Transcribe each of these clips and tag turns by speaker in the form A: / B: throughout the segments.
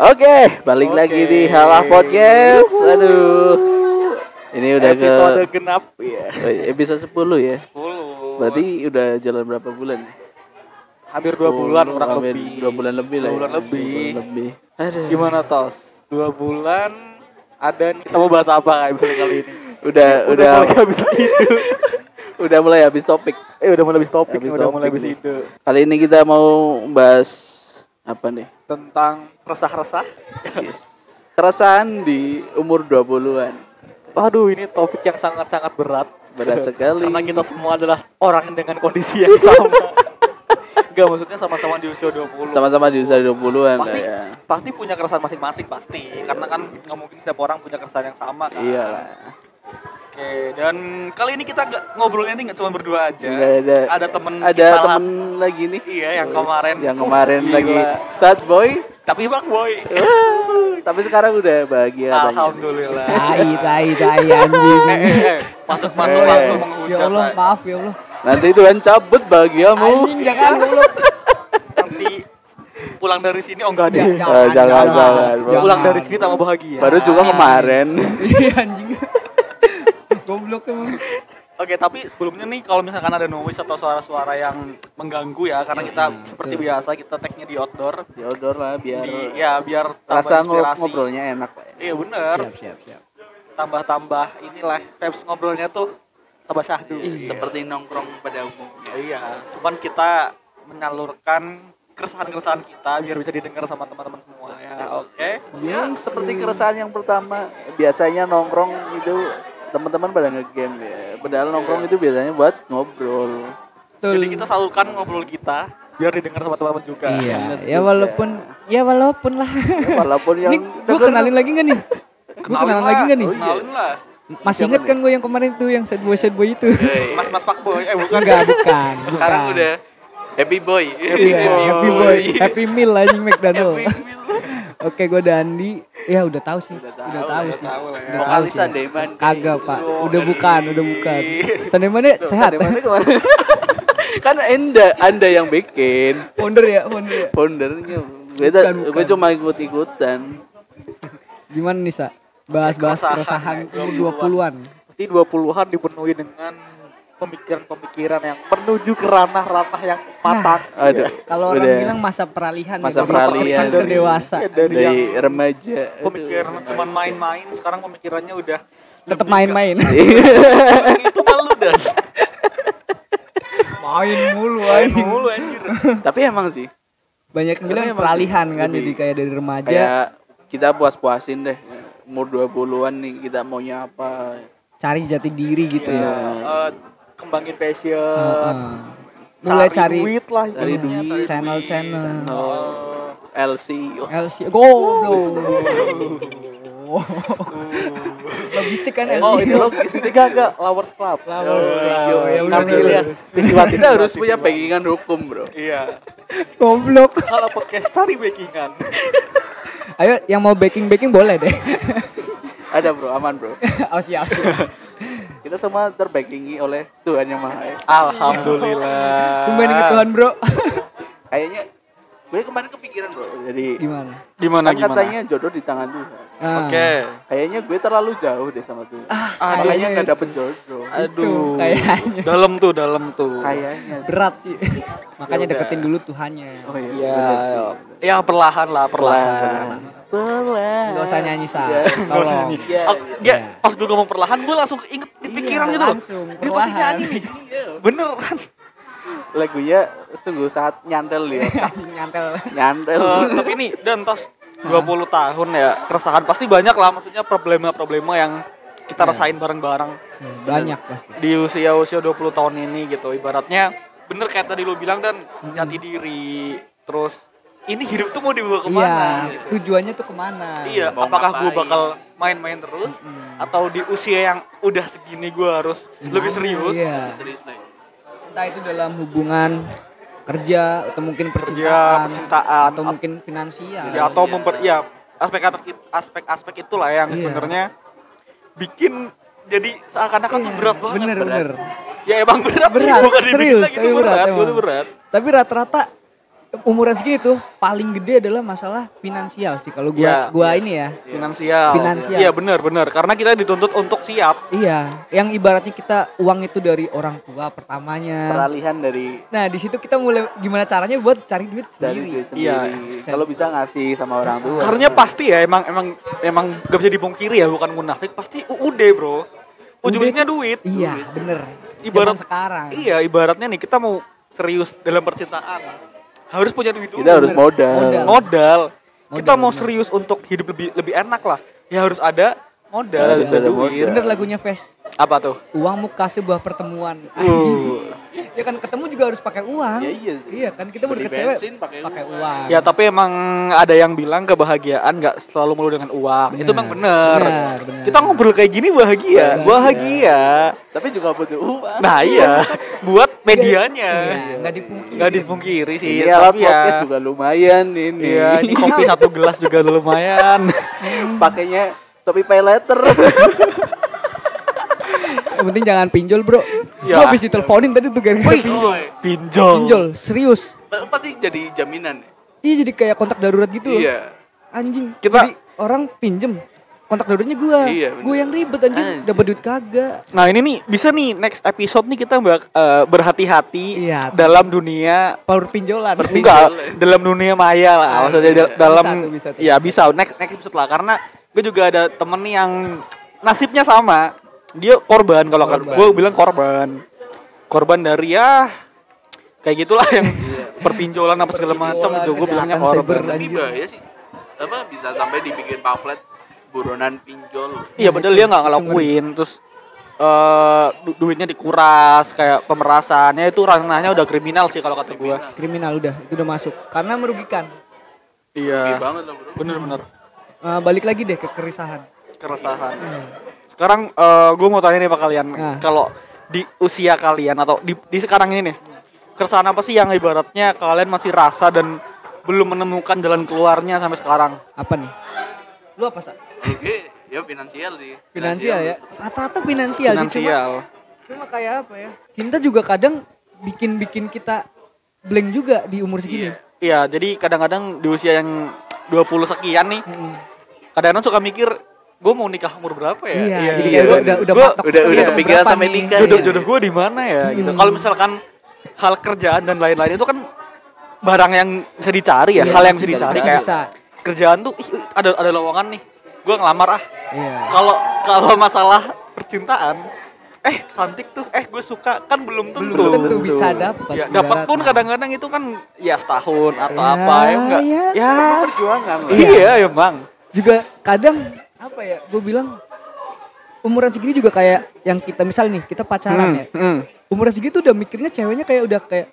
A: Oke, balik lagi
B: Oke.
A: di Halah Podcast.
B: Yuhu.
A: Aduh. Ini udah ke
B: episode genap ya.
A: eh, episode 10 ya.
B: 10.
A: Berarti udah jalan berapa bulan?
B: hampir 2 bulan
A: Oh,
B: kurang
A: hampir
B: lebih.
A: Dua bulan lebih lah.
B: Dua
A: ya.
B: bulan lebih.
A: Dua bulan lebih. Aduh.
B: Gimana Tos? 2 bulan ada nih kita mau bahas apa kayak episode kali ini?
A: Udah udah
B: mulai habis ide.
A: udah mulai habis topik.
B: eh udah mulai habis topik,
A: Habis
B: nih, udah mulai
A: topik
B: habis
A: nih.
B: ide
A: Kali ini kita mau bahas apa nih?
B: tentang resah-resah.
A: Yes. Keresahan di umur 20-an.
B: Waduh, ini topik yang sangat-sangat berat.
A: Berat sekali.
B: Karena kita semua adalah orang dengan kondisi yang sama. Enggak maksudnya sama-sama di usia 20.
A: Sama-sama di usia 20-an lah
B: pasti
A: ya.
B: pasti punya keresahan masing-masing pasti karena kan nggak mungkin setiap orang punya keresahan yang sama kan
A: Iyalah.
B: oke dan kali ini kita nggak ngobrolnya ini nggak cuma berdua aja
A: Nggak ada.
B: Ya, ada temen
A: Ada
B: kita
A: temen
B: lah.
A: lagi nih.
B: iya yang
A: Terus
B: kemarin
A: yang kemarin
B: Gila.
A: lagi sad boy
B: tapi bang boy
A: Iya, tapi sekarang udah bahagia katanya.
B: alhamdulillah
C: Tai, tai, tai
B: Eh,
C: anjing.
B: eh, eh. masuk masuk
A: Eh.
B: langsung
C: Ya
B: menghujat
C: Allah,
B: Pak.
C: maaf ya Allah.
A: nanti Tuhan cabut bahagiamu
C: Anjing jangan goblok.
B: nanti pulang dari sini oh nggak ada
C: Ya,
A: Eh, jangan, jangan, Bang.
B: pulang dari sini tambah bahagia
A: baru juga kemarin
C: Iya anjing. Goblok emang.
B: Oke, tapi sebelumnya nih kalau misalkan ada noise atau suara-suara yang mengganggu ya, karena kita seperti biasa kita tag-nya di outdoor.
A: ya udah lah biar
B: Di- ya biar
A: Iya,
B: tambah
A: rasa ngob-
B: inspirasi.
A: ngobrolnya enak Pak.
B: Iya bener,
C: Siap, siap, siap.
B: tambah-tambah inilah vibes ngobrolnya tuh tambah syahdu.
A: seperti nongkrong pada umumnya
B: Iya, cuman kita menyalurkan keresahan-keresahan kita biar bisa didengar sama teman-teman semua ya. Oke.
A: ya seperti keresahan yang pertama biasanya nongkrong itu teman-teman pada ngegame ya padahal nongkrong itu biasanya buat ngobrol
C: Betul.
B: Jadi kita salurkan ngobrol kita biar didengar sama teman-teman juga.
C: Iya,
A: Bener
C: ya
A: juga.
C: walaupun ya walaupun lah.
A: walaupun Ya, yang
C: Ini gua kenalin lagi gak nih? Gua kenalan lagi gak nih?
A: Oh, iya.
B: Kenalin lah.
C: Masih
A: Siapa
C: inget
A: nih?
C: kan gue yang kemarin tuh yang sad boy sad boy itu?
B: Mas-mas Pak Boy. Eh bukan.
C: Enggak, bukan. bukan.
A: happy boy
C: Iya, Nah. happy boy, happy meal anjing McDonald.
B: Happy Meal.
C: Oke, gue Dandi. Ya udah tahu sih,
A: Udah
C: udah
A: tahu,
C: tahu,
B: udah
C: sih.
B: tahu lah ya.
C: Udah tahu
A: Vokalis
C: sih.
A: Sandeman.
C: Kagak pak,
B: Aduh,
C: udah
B: Oh, dari-
C: bukan, udah bukan. Sandeman sehat. eh?
A: Dari mana kemarin? kan anda anda yang bikin
C: Founder ya, founder ya.
A: foundernya beda
C: Bukan, bukan.
A: gue cuma ikut ikutan
C: Gimana nih sa? Bahas-bahas
B: Keresahan,
C: keresahan
B: ya,
C: umur 20-an.
B: Pasti 20-an dipenuhi dengan pemikiran-pemikiran yang menuju ke ranah-ranah yang matang.
A: aduh
C: Iya. Kalau orang
A: udah
C: bilang masa peralihan
A: Masa
C: ya,
A: peralihan.
C: dan dewasa.
B: Iya, dari, yang
A: dari remaja Aduh,
B: pemikiran
A: remaja.
B: cuman main-main, sekarang pemikirannya udah
C: Tetap main-main.
B: Iya. itu malu dah.
C: Main mulu
B: Main
C: anjing.
B: mulu anjir.
A: tapi emang sih
C: Banyak yang bilang
A: Tapi emang
C: peralihan
A: sih,
C: kan,
A: lebih-
C: jadi kayak dari remaja
A: kayak kita puas-puasin deh umur 20-an nih kita maunya apa
C: cari jati diri gitu
B: Iya,
C: ya.
B: eh, kembangin passion.
C: Heeh. Mulai cari
B: duit lah gitu.
C: cari
B: intinya,
C: duit,
B: cari
C: channel-channel.
B: duit.
A: Oh, LC oh,
C: LC goblok. Logistik kan LC.
B: Oh, itu lo
C: Oh,
B: enggak enggak Lawers Club. Lawers
C: Iya,
A: Club. Ya udah,
B: Kami
A: udah,
B: Ilyas, Vicky Wati.
A: kita harus punya pegangan hukum bro
B: Iya.
C: goblok.
B: Kalau podcast cari backingan.
C: Ayo yang mau baking baking boleh deh.
A: ada bro aman bro
C: oh siap. siap.
A: kita semua terbackingi oleh Tuhan yang Maha Esa
B: Alhamdulillah.
C: Tumben inget Tuhan bro.
A: kayaknya gue kemarin kepikiran bro jadi
C: Gimana?
B: Gimana
A: kan
B: gimana?
A: katanya jodoh di tangan Tuhan
C: Ah,
B: Oke.
A: kayaknya gue terlalu jauh deh sama Tuhan makanya nggak dapet jodoh
B: Aduh.
C: kayaknya.
B: Dalam tuh, dalam tuh.
A: kayaknya sih.
C: Berat sih.
B: Ya
C: Makanya
B: Yaudah.
C: deketin dulu Tuhannya.
A: oh iya
B: Iya.
A: bener sih.
B: Ya perlahan lah,
A: perlahan
B: perlahan.
A: perlahan
C: Gak usah nyanyi sa.
A: Iya.
B: Nggak usah
C: Tolong.
B: nyanyi.
A: Iya,
B: Aku-
A: iya.
B: nggak, pas gue ngomong perlahan, gue langsung inget di
C: Iya,
B: pikiran gitu loh.
C: langsung,
B: Dia pasti
C: perlahan.
B: nyanyi nih. Beneran.
A: lagunya sungguh sangat nyantel ya
C: Nyantel.
A: nyantel
B: Eh, tapi nih, dan pas 20 tahun ya, keresahan pasti banyak lah. Maksudnya problema-problema yang kita rasain bareng-bareng.
C: Hmm, Banyak pasti.
B: di usia-usia 20 tahun ini gitu ibaratnya bener kayak tadi lu bilang dan jati diri terus ini hidup tuh mau dibawa kemana
C: Iya.
B: gitu.
C: Tujuannya tuh kemana? Hmm.
B: iya
A: Mau
B: apakah gue
A: ngapain?
B: bakal main-main terus
C: Mm-mm.
B: atau di usia yang udah segini gue harus lebih serius
C: Iya.
A: serius nih
C: Entah itu dalam hubungan kerja atau mungkin
B: kerja
C: percintaan,
B: Iya, percintaan
C: atau
B: ap-
C: mungkin finansial.
B: ya, atau memper ya aspek-aspek aspek-aspek itulah yang
C: Iya.
B: sebenarnya bikin jadi seakan-akan tuh berat banget
C: Bener bener.
B: ya emang berat, sih,
C: Iya, Berat,
B: bukan dibikin
C: serius,
B: lagi
C: tapi
B: itu
C: berat
B: berat, berat,
C: emang. Iya.
B: berat.
C: Tapi rata-rata umuran segitu paling gede adalah masalah finansial sih kalau
A: Iya,
B: Ya.
C: gua gua ini ya.
B: finansial.
C: Finansial.
B: Iya benar benar karena kita dituntut untuk siap.
C: Iya, yang ibaratnya kita uang itu dari orang tua pertamanya.
A: Peralihan dari
C: Nah, di situ kita mulai gimana caranya buat cari duit
A: dari
C: sendiri.
A: duit
B: Iya.
A: sendiri. Kalau bisa ngasih sama orang
C: Iya.
A: tua.
B: Karena pasti ya emang emang emang gak bisa dipungkiri ya bukan munafik pasti UUD bro. Ujungnya duit.
C: Iya, bener.
B: Ibarat-
C: Zaman sekarang.
B: Iya ibaratnya nih kita mau serius dalam percintaan harus punya duit dulu.
A: kita harus
C: Modal.
A: modal.
B: modal. Kita
C: Modal,
B: mau
C: benar.
B: serius untuk hidup lebih lebih enak lah. Ya harus ada modal,
A: Harus
B: harus ada
A: ada
B: duit.
A: modal.
C: Bener lagunya Fes.
B: Apa tuh?
C: Uang muka sebuah pertemuan.
B: Uh.
C: ya kan ketemu juga harus pakai uang.
A: Iya. Ya iya sih.
C: Iya kan kita mau
A: Beli
C: deket cewek
A: bensin pakai
C: pakai
A: uang.
C: uang.
B: Ya tapi emang ada yang bilang kebahagiaan nggak selalu melulu dengan uang. Itu emang bener.
C: Benar, benar.
B: Kita ngobrol kayak gini bahagia,
C: Bahagia.
B: bahagia.
A: Tapi juga butuh uang.
B: Nah iya, buat medianya.
C: Iya, nggak dipungkiri.
B: Nggak dipungkiri sih.
A: ini alat
B: tapi ya,
A: Iya, podcast juga lumayan ini.
B: Iya, ini kopi satu gelas juga lumayan.
A: Pakainya Shopee Iya. letter
C: Yang penting jangan pinjol, Bro.
B: Ya.
C: Gua habis diteleponin tadi tuh gara-gara pinjol.
B: Pinjol.
C: Pinjol, serius.
A: Pasti jadi jaminan. ya?
C: Iya jadi kayak kontak darurat gitu loh.
A: Iya.
C: Anjing.
B: Kita-
C: Jadi orang pinjem kontak daruratnya gua.
A: Iya, bener.
C: gua yang ribet anjing,
A: Anjing.
C: dapat duit kagak.
B: Nah ini nih bisa nih next episode nih kita bak- eh, berhati-hati
C: Iya.
B: dalam dunia
C: Power pinjolan.
A: Perpinjol.
B: enggak dalam dunia maya lah
A: Ah,
B: maksudnya
A: iya.
B: da- dalam
C: Bisa tuh, bisa tuh,
B: ya bisa next next episode lah karena gue juga ada temen nih yang nasibnya sama dia korban kalau kan.
C: Korban.
B: gue bilang korban korban dari ya kayak gitulah yang perpinjolan apa segala macam
C: Perpinjolan,
B: itu gue bilangnya
C: kejahatan
B: korban
C: cyber.
A: Tapi bahaya ya sih. Apa bisa sampai dibikin pamflet buronan pinjol.
B: iya padahal dia nggak ngelakuin terus eh du- duitnya dikuras kayak pemerasannya itu ranahnya udah kriminal sih kalau kata gue
A: Kriminal.
C: Kriminal udah, itu udah masuk. Karena merugikan.
A: Gede
B: iya
A: banget loh bro.
B: bener-bener
C: Eh, balik lagi deh ke keresahan.
B: keresahan
C: Hmm.
B: Sekarang eh gue mau tanya nih sama kalian,
C: Nah.
B: kalau di usia kalian atau di, di sekarang ini nih, keresahan apa sih yang ibaratnya kalian masih rasa dan belum menemukan jalan keluarnya sampai sekarang?
C: Apa nih? Lu apa, Sa?
A: Oke, ya finansial sih.
C: Finansial ya. Rata-rata finansial, Iya sih cuma
B: Finansial.
C: cuma kayak apa ya? Cinta juga kadang bikin-bikin kita blank juga di umur
A: Iya.
C: segini.
B: Iya, jadi kadang-kadang di usia yang 20 sekian nih,
C: Mm-mm.
B: kadang-kadang suka mikir, gue mau nikah umur berapa ya?
C: Iya, jadi
A: iya,
C: kayak gua
A: iya.
C: udah udah
B: Gua
C: patok
A: udah-
C: nih,
A: udah
C: berapa
A: kepikiran sampai
C: nih?
A: nikah,
B: jodoh
A: iya.
B: jodoh gue di mana ya gitu.
C: Hmm.
B: Kalau misalkan hal kerjaan dan lain-lain itu kan barang yang bisa dicari ya,
C: Iya,
B: hal yang
A: bisa
B: bisa dicari
A: dicari.
B: kayak
C: Bisa.
B: kerjaan tuh ih, ada ada lowongan nih gue ngelamar ah
C: Iya.
B: kalau kalau masalah percintaan eh cantik tuh eh gue suka kan belum tentu
C: Belum
A: Tentu.
C: tentu bisa dapat.
B: ya dapat pun kadang-kadang itu kan ya setahun atau
C: Ya,
B: apa ya enggak
C: ya.
B: ya
A: Perjuangan lah.
B: iya emang
C: juga kadang apa ya? Gue bilang umuran segini juga kayak yang kita misal nih kita pacaran ya.
B: Hmm, hmm.
C: Umuran segini tuh udah mikirnya ceweknya kayak udah kayak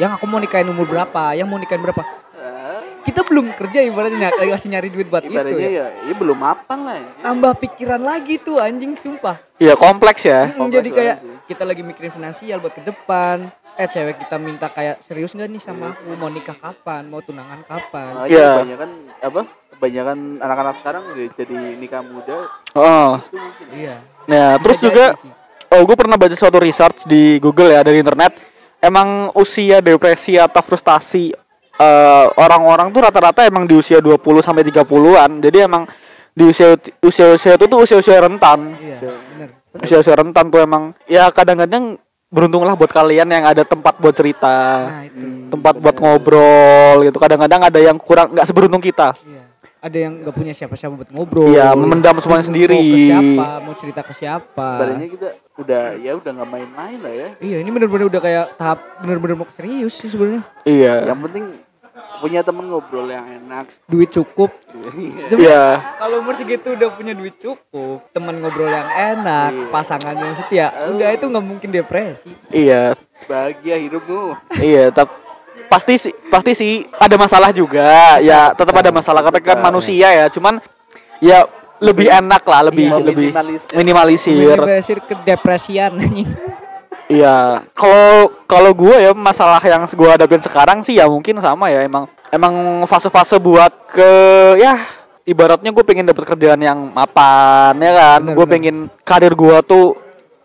C: yang aku mau nikahin umur berapa, yang mau nikahin berapa.
A: Ah,
C: Kita belum kerja ibaratnya ny- masih nyari duit buat
A: Ibaratnya
B: iya.
C: itu. Ya.
A: ya, ya belum mapan lah. ya.
C: Tambah pikiran lagi tuh anjing sumpah.
B: Iya, kompleks ya
C: Mm,
A: Kompleks
C: jadi kayak
A: banget
C: kita lagi mikirin finansial buat ke depan. Eh cewek kita minta kayak serius nggak nih sama aku mau nikah kapan, mau tunangan kapan.
A: Makanya
B: Iya.
A: kebanyakan apa? Kebanyakan anak-anak sekarang udah jadi nikah muda
B: oh
A: itu mungkin.
C: Iya.
B: nah terus
C: Bisa
B: juga
C: jadi sih.
B: oh gue pernah baca suatu research di Google ya dari internet emang usia depresi atau frustasi eh, orang-orang tuh rata-rata emang di usia 20 sampai 30-an. Jadi emang di usia usia-usia itu tuh usia-usia rentan.
C: Iya, bener.
B: Usia-usia rentan tuh emang ya kadang-kadang beruntunglah buat kalian yang ada tempat buat cerita,
C: Nah, itu.
B: tempat buat ngobrol gitu. Kadang-kadang ada yang kurang nggak seberuntung kita.
C: Iya. Ada yang nggak punya siapa-siapa buat ngobrol.
B: Iya, memendam semuanya sendiri.
C: Mau ke siapa, mau cerita ke siapa.
A: Ibaratnya kita udah ya udah nggak main-main lah ya.
C: Iya, ini bener-bener udah kayak tahap bener-bener mau serius sih sebenarnya.
B: Iya.
A: Yang penting punya temen ngobrol yang enak.
C: Duit cukup.
A: Iya.
C: Sebenarnya
B: Iya.
C: Kalau umur segitu udah punya duit cukup, teman ngobrol yang enak,
A: Iya.
C: pasangan yang setia, udah itu nggak mungkin depresi.
B: Iya.
A: Bahagia hidupmu.
B: iya tapi pasti sih pasti sih ada masalah juga ya tetap ada masalah kata kan manusia ya cuman ya lebih enak lah lebih
C: Iya,
B: lebih
A: meminimalisir.
B: minimalisir
C: Depresi ke depresian anjing.
B: iya kalau kalau gue ya masalah yang gue hadapin sekarang sih ya mungkin sama ya emang emang fase-fase buat ke ya ibaratnya gue pengen dapet kerjaan yang mapan ya kan
C: Bener,
B: gue
C: bener.
B: pengen
C: Iya.
B: karir gue tuh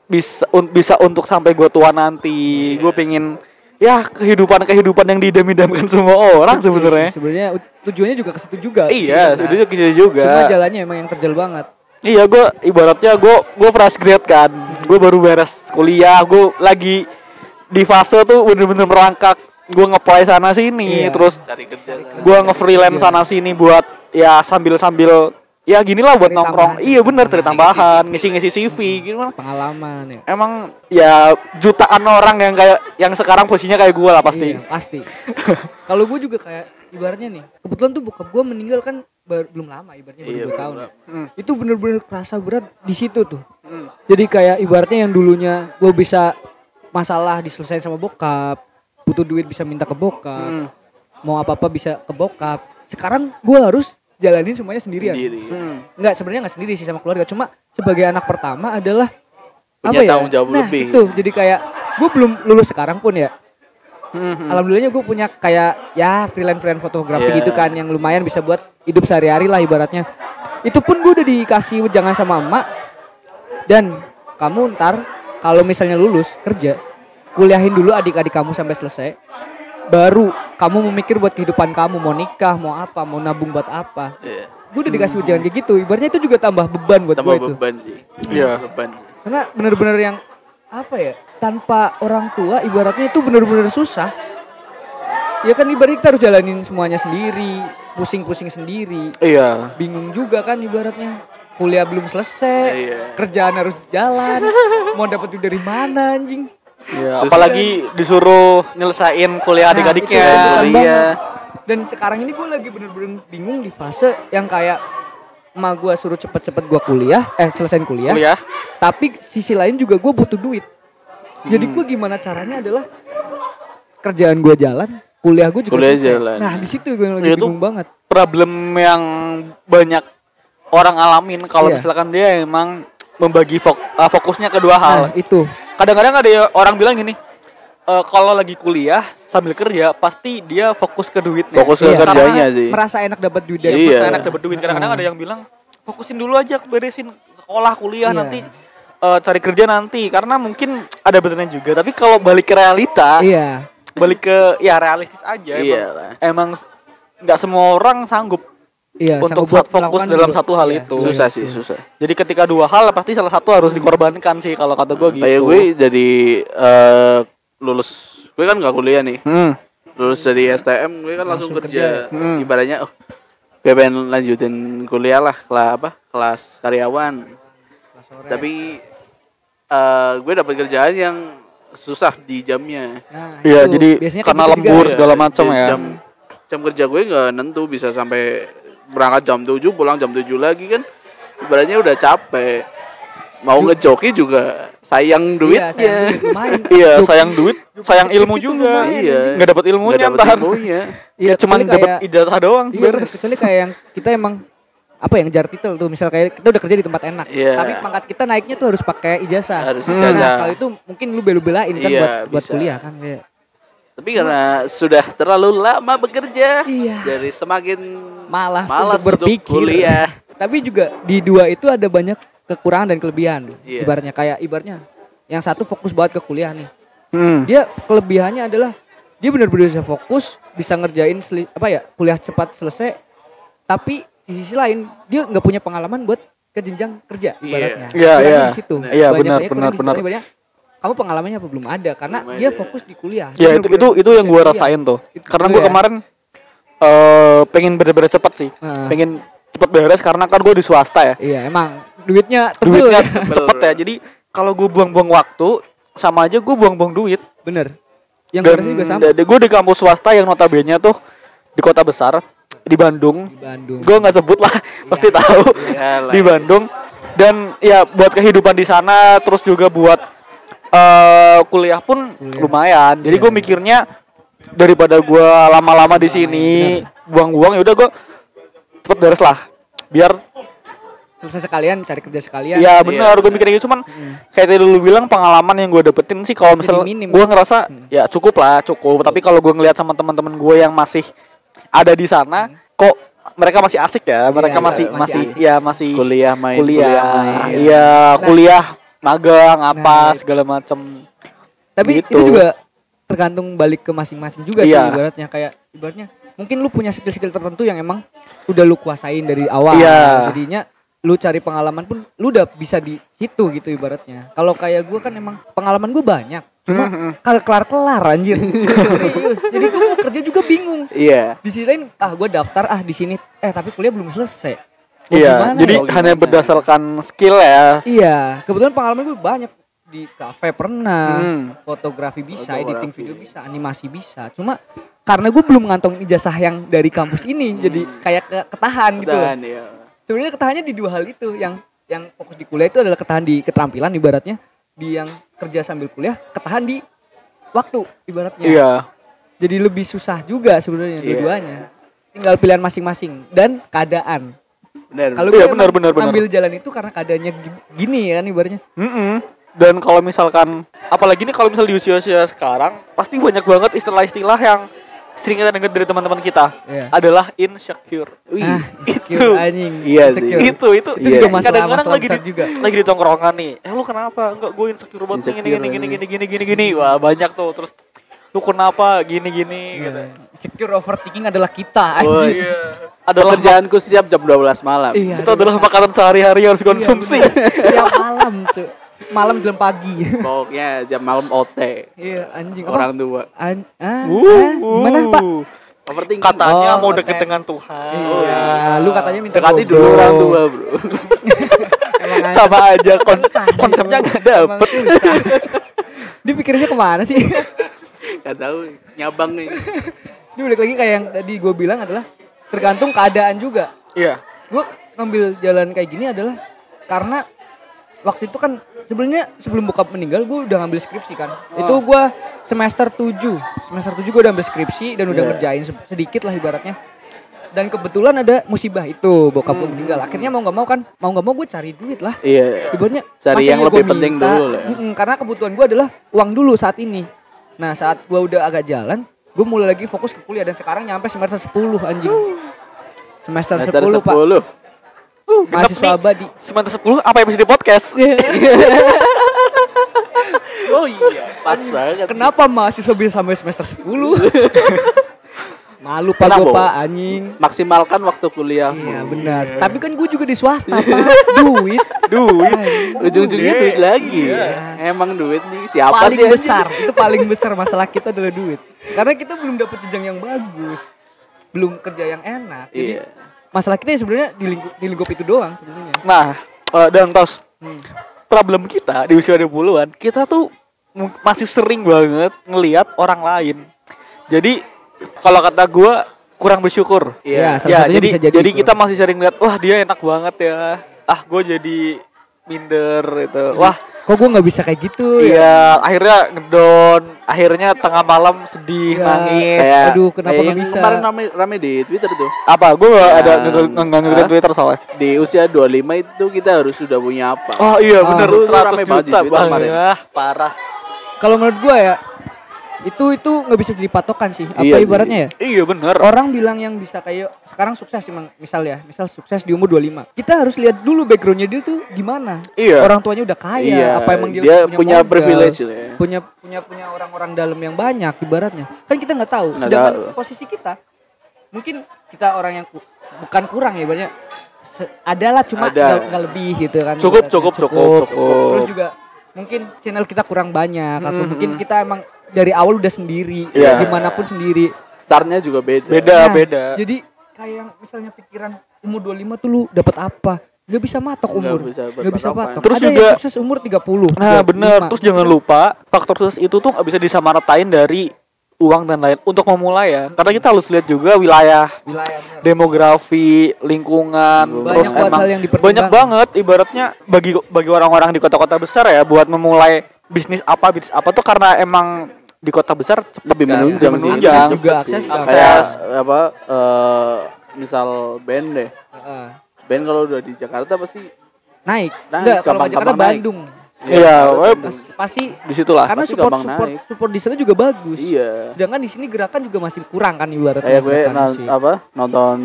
B: bisa un- bisa untuk sampai gue tua nanti gue pengen ya kehidupan-kehidupan yang didam-idamkan semua orang
C: Betul
B: sebenarnya.
C: sih, Sebenarnya ut- tujuannya juga ke situ juga.
B: Iya,
C: sebenarnya.
B: itu juga juga.
C: Cuma jalannya emang yang terjal banget.
B: Iya, gue ibaratnya gue gue fresh grade kan, gue baru beres kuliah, gue lagi di fase tuh bener-bener merangkak, gue ngeplay sana sini,
C: Iya.
B: terus
A: cari kerja kan.
B: gue nge-freelance
C: Iya.
B: sana sini buat ya sambil sambil ya gini lah buat
C: Cari
B: nongkrong.
C: tambahan,
B: iya bener cari
A: ngisi-ngisi
B: tambahan, ngisi-ngisi CV gitu mah.
C: Pengalaman ya.
B: Emang ya jutaan orang yang kayak yang sekarang posisinya kayak gue lah pasti.
C: Iya, pasti. Kalau gue juga kayak ibaratnya nih, kebetulan tuh bokap gue meninggal kan baru- belum lama ibaratnya baru
A: Iya,
C: dua
A: belum
C: tahun. ya.
A: lama.
B: Hmm.
C: Itu bener-bener kerasa berat di situ tuh.
B: Hmm.
C: Jadi kayak ibaratnya yang dulunya gue bisa masalah diselesain sama bokap, butuh duit bisa minta ke bokap,
B: Hmm.
C: mau apa-apa bisa ke bokap. Sekarang gue harus jalanin semuanya sendirian.
A: sendiri
B: Hmm.
C: Enggak sebenarnya nggak sendiri sih sama keluarga, cuma sebagai anak pertama adalah
A: Punya tanggung jawab
C: nah,
A: lebih.
C: Itu jadi kayak gue belum lulus sekarang pun ya.
B: Hmm.
C: Alhamdulillahnya gue punya kayak ya freelance freelance fotografi
A: Iya.
C: gitu kan yang lumayan bisa buat hidup sehari-hari lah ibaratnya. Itu pun gue udah dikasih jangan sama emak dan kamu ntar kalau misalnya lulus kerja kuliahin dulu adik-adik kamu sampai selesai baru kamu memikir buat kehidupan kamu mau nikah mau apa mau nabung buat apa
A: Iya.
C: gue udah dikasih ujian kayak gitu ibaratnya itu juga tambah beban buat
A: tambah
C: gue itu
A: beban sih
B: Iya.
A: beban
C: karena bener-bener yang apa ya tanpa orang tua ibaratnya itu bener-bener susah ya kan ibaratnya kita harus jalanin semuanya sendiri pusing-pusing sendiri
B: Iya.
C: bingung juga kan ibaratnya kuliah belum selesai
A: iya
C: kerjaan harus jalan mau dapat duit dari mana anjing Nah,
B: Iya,
A: Susah.
B: apalagi disuruh nyelesain kuliah
C: Nah,
B: adik-adiknya.
C: itu
A: Iya.
C: Beban
A: iya
C: banget. dan sekarang ini gue lagi bener-bener bingung di fase yang kayak emak gue suruh cepet-cepet gue kuliah eh selesain kuliah
B: kuliah.
C: tapi sisi lain juga gue butuh duit jadi
B: Hmm.
C: gue gimana caranya adalah kerjaan gue jalan kuliah gue juga
A: Kuliah
C: selesai.
A: jalan.
C: nah di situ gue
B: Iya,
C: lagi
B: itu-
C: bingung banget
B: Problem yang banyak orang alamin kalau
C: Iya.
B: misalkan dia emang membagi fok- eh, fokusnya ke dua hal.
C: nah itu
B: Kadang-kadang ada ya orang bilang gini, "Eh, kalau lagi kuliah sambil kerja pasti dia fokus ke duitnya.
A: Fokus ke
C: Iya.
A: kerjanya
B: Karena
A: sih.
C: merasa enak dapat duit dari
A: Iya.
B: Enak dapat duit. Kadang-kadang ada yang bilang, "Fokusin dulu aja beresin sekolah, kuliah
C: Iya.
B: nanti eh, cari kerja nanti." Karena mungkin ada benernya juga, tapi kalau balik ke realita,
C: iya
B: balik ke ya realistis aja emang.
A: Iyalah.
B: emang s- nggak semua orang sanggup
C: iya
B: untuk
C: sanggup
B: buat
C: buat
B: fokus
C: melakukan
B: dalam
C: dua-
B: satu hal
C: iya.
B: itu.
A: susah sih susah
B: Jadi ketika dua hal pasti salah satu
C: Hmm.
B: harus dikorbankan sih kalau kata gue gitu.
A: kayak gue jadi eh, lulus gue kan nggak kuliah nih
B: Hmm.
A: lulus dari STM gue kan langsung,
C: Langsung
A: kerja,
B: kerja. Hmm.
A: ibaratnya oh, gue pengen lanjutin kuliah lah kelas apa kelas karyawan tapi eh, gue dapat kerjaan yang susah di jamnya
C: nah,
B: Iya,
C: itu.
B: jadi
C: Biasanya kayak
B: karena
C: gitu juga.
B: lembur
A: Iya,
B: segala macam
A: jadi
B: ya.
A: jam, jam kerja gue nggak nentu bisa sampai berangkat jam 7 pulang jam 7 lagi kan ibaratnya udah capek mau ngejoki juga sayang duit
C: iya sayang duit lumayan
B: Iya, sayang duit, sayang ilmu
C: itu
B: juga.
C: lumayan,
A: Iya.
B: Nggak dapat ilmunya
A: dapet
B: ntar.
A: ilmunya.
C: iya
B: Ya, cuman
C: kecuali
B: dapat
C: kayak-
B: ijazah doang.
C: iya bener,
B: beres.
C: kecuali kayak yang kita emang apa yang ngejar titel tuh misal kayak kita udah kerja di tempat enak
A: Iya.
C: tapi pangkat kita naiknya tuh harus pakai ijazah
A: harus
B: Hmm.
A: ijazah.
C: nah kalau itu mungkin lu belu-belain kan
A: Iya,
C: buat buat
A: bisa.
C: kuliah kan kayak
A: tapi karena sudah terlalu lama bekerja
C: iya
A: jadi semakin
C: malas,
A: malas untuk
C: untuk berpikir.
A: kuliah
C: Tapi juga di dua itu ada banyak kekurangan dan kelebihan.
A: Iya.
C: Ibaratnya kayak ibaratnya yang satu fokus banget ke kuliah nih.
B: Hmm.
C: Dia kelebihannya adalah dia benar-benar bisa fokus, bisa ngerjain seli- apa ya kuliah cepat selesai. Tapi di sisi lain dia nggak punya pengalaman buat ke jenjang kerja ibaratnya.
B: Iya,
C: Kurangnya
B: iya.
C: Di situ.
B: Iya,
C: Banyak-
B: benar,
C: banyak
B: benar,
C: kurang di situ.
B: benar.
C: Tapi banyak, kamu pengalamannya apa belum ada karena
A: Belum
C: dia
A: ada.
C: fokus di kuliah.
B: Ya
C: Dia
B: itu itu
C: benar-benar
B: itu yang gue
C: fokus di kuliah.
B: rasain tuh.
C: Itu
B: Karena
C: dulu
B: gue
C: ya.
B: kemarin eh pengen beres-beres cepet sih.
C: Nah,
B: Pengen cepet beres karena kan gue di swasta ya.
C: iya emang duitnya tebel
B: duitnya
C: ya.
B: cepet ya jadi kalau gue buang-buang waktu sama aja gue buang-buang duit
C: Bener. Yang gue
B: dan
C: rasain juga sama.
B: gue di kampus swasta yang notabene tuh di kota besar di Bandung
C: di Bandung.
B: gue nggak sebut lah pasti tahu
A: Iyalah.
B: di Bandung dan ya buat kehidupan di sana terus juga buat eh, kuliah pun
C: Kuliah.
B: lumayan jadi gue
C: Iya.
B: mikirnya daripada gue lama-lama di sini buang-buang ya udah gue cepet beres lah biar
C: Selesai sekalian cari kerja sekalian.
B: ya benar gue mikirnya gitu cuman
C: Mm.
B: kayak tadi lu bilang pengalaman yang gue dapetin sih kalau
C: Jadi
B: misal
C: minim.
B: gue ngerasa
C: Hmm.
B: ya cukup lah cukup tapi kalau gue ngelihat sama teman-teman gue yang masih ada di sana kok mereka masih asik ya mereka
C: Mm. Iya,
B: masih
A: masih
B: masih
C: asik.
B: ya masih kuliah
A: kuliah main
B: kuliah,
A: main.
B: iya kuliah magang apa
C: Nah,
B: segala macem
C: Tapi
B: gitu.
C: itu juga tergantung balik ke masing-masing juga
B: Iya.
C: sih ibaratnya kayak ibaratnya mungkin lu punya skill-skill tertentu yang emang udah lu kuasain dari awal
B: Iya.
C: jadinya lu cari pengalaman pun lu udah bisa di situ gitu ibaratnya kalau kayak gua kan emang pengalaman gue banyak cuma
B: Mm-mm.
C: kagak kelar-kelar anjir serius jadi gue mau kerja juga bingung
A: Iya.
C: di sisi lain ah gue daftar ah di sini eh tapi kuliah belum selesai Mau
B: Iya,
C: gimana
B: jadi
A: ya? Mau
B: hanya
A: gimana?
B: berdasarkan skill ya.
C: Iya, kebetulan pengalaman gue banyak di kafe pernah,
B: Hmm.
C: fotografi bisa,
A: Fotografi.
C: editing video bisa, animasi bisa. Cuma karena gue belum ngantongin ijazah yang dari kampus ini,
A: Hmm.
C: jadi kayak ke- ketahan gitu.
A: Dan ya.
C: Sebenarnya ketahannya di dua hal itu, yang yang fokus di kuliah itu adalah ketahan di keterampilan ibaratnya, di yang kerja sambil kuliah ketahan di waktu ibaratnya.
B: Iya.
C: Jadi lebih susah juga sebenarnya
A: Iya.
C: dua-duanya. Tinggal pilihan masing-masing dan keadaan.
A: Benar.
C: Kalau
B: Iya,
C: gue
B: benar,
C: emang
B: benar, benar.
C: ambil jalan itu karena keadaannya gi- gini ya kan ibaratnya.
B: Mm-mm. Dan kalau misalkan, apalagi nih kalau misal di usia-usia sekarang, pasti banyak banget istilah-istilah yang sering kita dengar dari teman-teman kita
C: Iya.
B: adalah insecure.
A: Wih.
C: Ah,
B: Itu.
C: insecure anjing.
A: Iya sih.
C: Insecure.
B: Itu itu
C: Itu
A: Iya.
C: juga masalah
B: kadang-kadang
C: masalah
B: lagi
C: besar
B: di,
C: juga.
B: lagi di tongkrongan nih. Eh lu kenapa? Enggak gue insecure banget nih,
A: Insecure
B: gini gini gini
C: iya.
A: aja.
B: gini gini gini. Wah, banyak tuh terus lu kenapa gini gini
C: Iya.
B: gitu.
C: Insecure overthinking adalah
A: Woi.
C: kita anjing.
B: Adalah
A: Pekerjaanku setiap jam 12 malam.
C: Iya.
B: itu adalah makanan sehari-hari yang harus konsumsi.
C: Setiap malam, cuy. Malam jelang pagi.
A: Pokoknya jam malam OT.
C: Iya, anjing. Apa?
A: Orang tua.
C: An
B: Uh,
C: ah, ah,
B: Wuh,
C: gimana, Pak?
A: Overthinking.
B: Katanya
C: Oh,
B: mau deket
C: katanya.
B: dengan Tuhan. Oh.
C: Iya, lu katanya minta
A: Dekati
C: jodoh.
A: dulu orang tua, Bro.
C: Emang anjing.
B: sama aja kon-
C: Susah, anjing.
B: konsepnya nggak
C: Emang
B: dapet.
C: susah. Dia pikirnya kemana sih?
A: Gak tahu nyabang nih.
C: Ini balik lagi kayak yang tadi gue bilang adalah tergantung keadaan juga.
B: Iya.
C: gue ngambil jalan kayak gini adalah karena waktu itu kan sebenarnya sebelum bokap meninggal gue udah ngambil skripsi kan
A: Ah.
C: itu gue semester 7 semester 7 gue udah ambil skripsi dan udah
A: Iya.
C: ngerjain se- sedikit lah ibaratnya dan kebetulan ada musibah itu bokap
A: Hmm.
C: gue meninggal akhirnya mau nggak mau kan mau nggak mau gue cari duit lah
A: Iya.
C: ibaratnya
A: Cari
C: masa
A: yang
C: iya
A: lebih
C: gua
A: penting
C: minta?
A: dulu lah ya.
C: Mm-mm, karena kebutuhan gue adalah uang dulu saat ini nah saat gue udah agak jalan gue mulai lagi fokus ke kuliah dan sekarang nyampe semester 10 anjing semester,
A: Semester
C: 10 pak
A: 10.
B: genep
C: mahasiswa
B: nih.
C: abadi
B: Semester 10 apa yang bisa di podcast?
A: Iya. Oh iya, pas banget.
C: Kenapa mahasiswa bisa sampai semester 10? Malu pak
A: Kenapa?
C: gue pak anjing.
A: Maksimalkan waktu kuliah.
C: Iya benar. Tapi kan gue juga di swasta pak. Duit.
B: Duit.
C: Iya.
A: Ujung-ujungnya
B: Duit.
A: duit lagi.
B: Iya.
A: Emang duit nih siapa
C: paling
A: sih? anjing?
C: besar. Itu paling besar masalah kita adalah duit. Karena kita belum dapat jenjang yang bagus. Belum kerja yang enak. Jadi
A: Iya.
C: masalah kita ya sebenarnya di lingkup, di lingkup itu doang sebenarnya.
B: Nah, eh, dan tos
C: Hmm.
B: problem kita di usia 20-an, kita tuh mu- masih sering banget ngelihat orang lain. Jadi kalau kata gua kurang bersyukur. Ya,
A: Iya.
C: Ya, Salah satunya
B: jadi
C: bisa jadi itu.
B: kita masih sering lihat, wah dia enak banget ya. Ah, gue jadi minder gitu.
C: Iya.
B: Wah,
C: Kok gue nggak bisa kayak gitu ya?
B: iya akhirnya ngedown, akhirnya tengah malam sedih,
C: Iya.
B: nangis.
A: Kayak,
C: Aduh, kenapa
A: kayak
C: nggak
A: yang
C: bisa?
A: Kemarin rame, rame di Twitter tuh.
B: Apa? Gue
C: Iya.
B: ada
A: Yang-
B: nge- nge- nge- nge-
A: Hah?
B: Twitter soalnya.
A: Di usia 25 itu kita harus sudah punya apa?
B: Oh iya
C: Ah,
B: bener
A: itu rame
B: 100
A: banget di
B: juta
A: Twitter
B: bang.
A: kemarin.
C: ya.
B: Ah, parah.
C: Kalau menurut gue ya itu itu nggak bisa jadi patokan sih. Apa
A: Iya sih.
C: ibaratnya ya?
B: Iya bener.
C: Orang bilang yang bisa kayak sekarang sukses emang misal ya, misal sukses di umur 25. Kita harus lihat dulu backgroundnya dia tuh gimana.
B: Iya.
C: Orang tuanya udah kaya, apa emang dia,
A: Iya, punya,
C: modal?
A: privilege lah ya.
C: Punya punya punya orang-orang dalam yang banyak ibaratnya. Kan kita nggak tahu.
A: Nggak
C: Sedangkan
A: tahu.
C: posisi kita mungkin kita orang yang ku- bukan kurang ya banyak Se- adalah
A: Ada.
C: cuma nggak nggak lebih gitu kan
B: Cukup,
C: ibaratnya.
B: cukup, cukup, cukup.
C: terus juga mungkin channel kita kurang banyak atau
B: Mm-mm.
C: mungkin kita emang dari awal udah sendiri
A: Iya.
C: gimana pun sendiri
A: Startnya juga beda.
B: Beda
C: Nah,
B: beda.
C: jadi kayak yang misalnya pikiran umur 25 tuh lu dapat apa? Gak bisa matok
A: Nggak
C: umur.
A: bisa
C: Gak bisa
A: berpatokan.
C: matok.
B: Terus
C: Ada
B: juga-
C: yang sukses umur 30.
B: Nah
C: 25.
B: bener. Terus jangan lupa faktor sukses itu tuh nggak bisa disamaratain dari uang dan lain untuk memulai ya. Karena kita harus lihat juga wilayah,
C: wilayah bener.
B: demografi, lingkungan,
A: Banyak
B: terus
A: banget
C: banyak banget
B: emang
C: hal yang
B: banyak
C: dipertimbangkan.
B: banget ibaratnya bagi bagi orang-orang di kota-kota besar ya buat memulai bisnis apa bisnis apa tuh karena emang di kota besar cepet
A: lebih
B: kan.
A: menunjang sih. Akses
B: Menunjang.
C: Iya, juga
A: cepet
C: akses
A: sih.
C: juga.
A: Kayak
B: Akses.
A: apa eh, misal band deh.
C: Heeh.
A: Band kalau udah di Jakarta pasti
C: Naik.
A: Naik,
C: Enggak, kalau
A: gampang-gampang
C: Jakarta
A: naik.
C: Bandung.
B: Iya, web.
A: Bandung.
C: Pas- Pasti
B: di situlah.
C: karena
A: pasti
C: support
A: gampang
C: support
A: naik.
C: support di sana juga bagus.
A: Iya.
C: Sedangkan di sini gerakan juga masih kurang kan ibaratnya.
A: Kayak gue nah,
C: gerakan
A: non-
C: musik.
A: apa nonton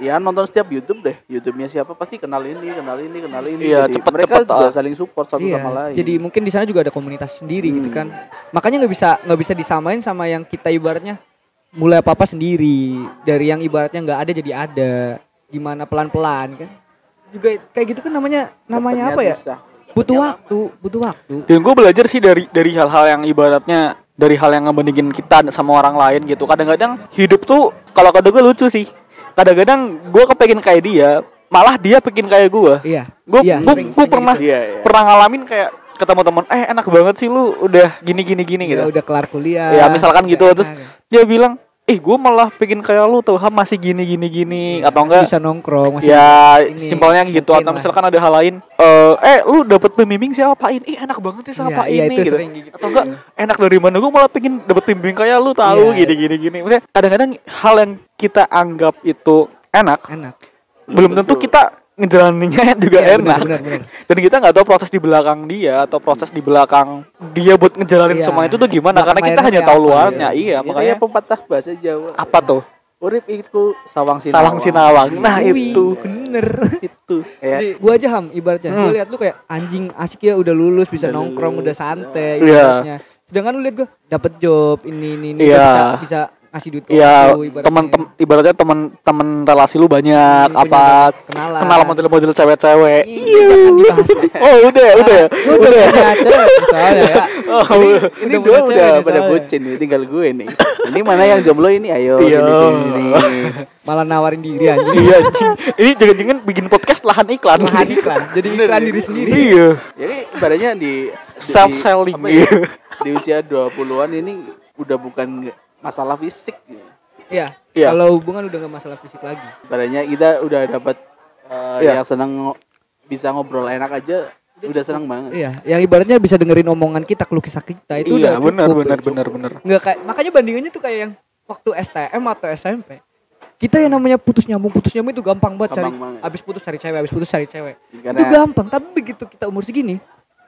A: ya nonton setiap YouTube deh YouTube-nya siapa pasti kenal ini kenal ini kenal ini
B: Iya,
A: Jadi
B: cepet-
A: mereka
B: cepet,
A: juga
B: ah.
A: saling support satu
C: Iya,
A: sama lain
C: Jadi mungkin di sana juga ada komunitas sendiri gitu
A: Hmm.
C: kan. Makanya nggak bisa nggak bisa disamain sama yang kita ibaratnya mulai apa apa sendiri dari yang ibaratnya nggak ada jadi ada. Gimana pelan-pelan kan? Juga kayak gitu kan namanya namanya apa
A: Dapetnya
C: ya?
A: susah.
C: Butuh
A: Dapetnya
C: waktu, butuh waktu.
B: Dan gue belajar sih dari dari hal-hal yang ibaratnya dari hal yang ngebandingin kita sama orang lain gitu. Kadang-kadang hidup tuh kalau kata gue lucu sih. Kadang-kadang gue kepengen kayak dia, malah dia pengen kayak gue.
C: Iya.
B: Gue
C: Iya,
B: gue
C: sering-
B: gue
C: sering
B: pernah
A: lama. iya iya
B: pernah ngalamin kayak ketemu teman, eh enak banget sih lu udah gini gini gini
C: Ya
B: gitu.
C: udah kelar kuliah. Nah,
B: Ya, misalkan
C: udah
B: gitu, terus
C: enak.
B: Dia bilang, "Ih, gue malah pengen kayak lu tuh, Ham, masih gini gini gini
C: Iya,
B: atau
C: masih
B: enggak?"
C: bisa nongkrong masih
B: ya
C: ini,
B: simpelnya gitu
C: mungkin
B: atau
C: lah.
B: misalkan ada hal lain eh eh lu dapat pembimbing siapain ih enak banget ya siapa
C: Iya, iya,
B: ini
C: itu
B: gitu
C: sering gitu.
B: atau enggak enak dari mana gue malah pengen dapat pembimbing kayak lu tahu
C: Iya.
B: gini gini gini Maksudnya, kadang-kadang hal yang kita anggap itu enak
C: enak.
B: belum tentu
A: Betul.
B: kita ngejalaninnya juga
C: Iya,
B: enak
C: benar, benar, benar.
B: dan kita nggak tahu proses di belakang dia atau proses di belakang dia buat ngejalanin
C: Iya.
B: semua itu tuh gimana
C: Belakang
B: karena kita
C: layarnya
B: hanya
C: kayak
B: tahu
C: apa,
B: luarnya iya
A: Ya,
B: makanya
A: kayak pepatah bahasa Jawa
B: apa tuh
A: urip itu sawang sinawang Iya.
B: salang sinawang nah
C: Wih,
B: itu
C: bener.
B: itu
A: Ya,
C: Jadi gua aja ham ibaratnya. Gua
B: Hmm.
C: lihat lu kayak anjing asik ya udah lulus bisa
A: Udah
C: nongkrong
A: lulus,
C: udah
B: Iya.
C: santai ibaratnya. Sedangkan lu lihat gua dapat job ini ini ini
B: Iya.
C: bisa bisa ngasih duit
B: Iya,
C: waktu, ibaratnya.
B: teman tem- ibaratnya teman-teman relasi lu banyak
C: Hmm, punya
B: apa
C: kenalan. Iya,
B: kenal model-model cewek-cewek.
C: Ih, jangan Kan dibahas.
B: oh, udah, ya, udah. ya?
C: Gua udah punya cewek soalnya ya.
B: Oh,
A: ini
C: Udah
A: dua
C: punya
A: udah
C: cewek nih
A: pada
C: soalnya.
A: bucin nih, tinggal gue nih. Ini mana yang jomblo ini? Ayo
B: Iya.
A: sini sini sini.
C: Malah nawarin diri anjing.
B: iya anjing. Ini jangan-jangan bikin podcast lahan iklan.
C: Lahan iklan. Jadi iklan diri sendiri.
B: Iya.
A: Jadi ibaratnya di di-
B: Self-selling,
A: apa ya,
B: iya.
A: Di usia 20-an ini udah bukan masalah fisik.
C: Iya.
A: Iya.
C: Kalau hubungan udah gak masalah fisik lagi.
A: Ibaratnya kita udah dapat eh,
B: Iya.
A: yang senang ngo- bisa ngobrol enak aja udah senang banget.
C: Iya, yang ibaratnya bisa dengerin omongan kita, keluh kisah kita itu
B: iya,
C: udah cukup.
B: benar benar benar benar.
C: Nggak kayak makanya bandingannya tuh kayak yang waktu STM atau SMP. Kita yang namanya putus nyambung, putus nyambung itu gampang banget
A: Gampang
C: cari.
A: banget.
C: Habis putus cari cewek, habis putus cari cewek. Itu
A: Karena
C: gampang, tapi begitu kita umur segini,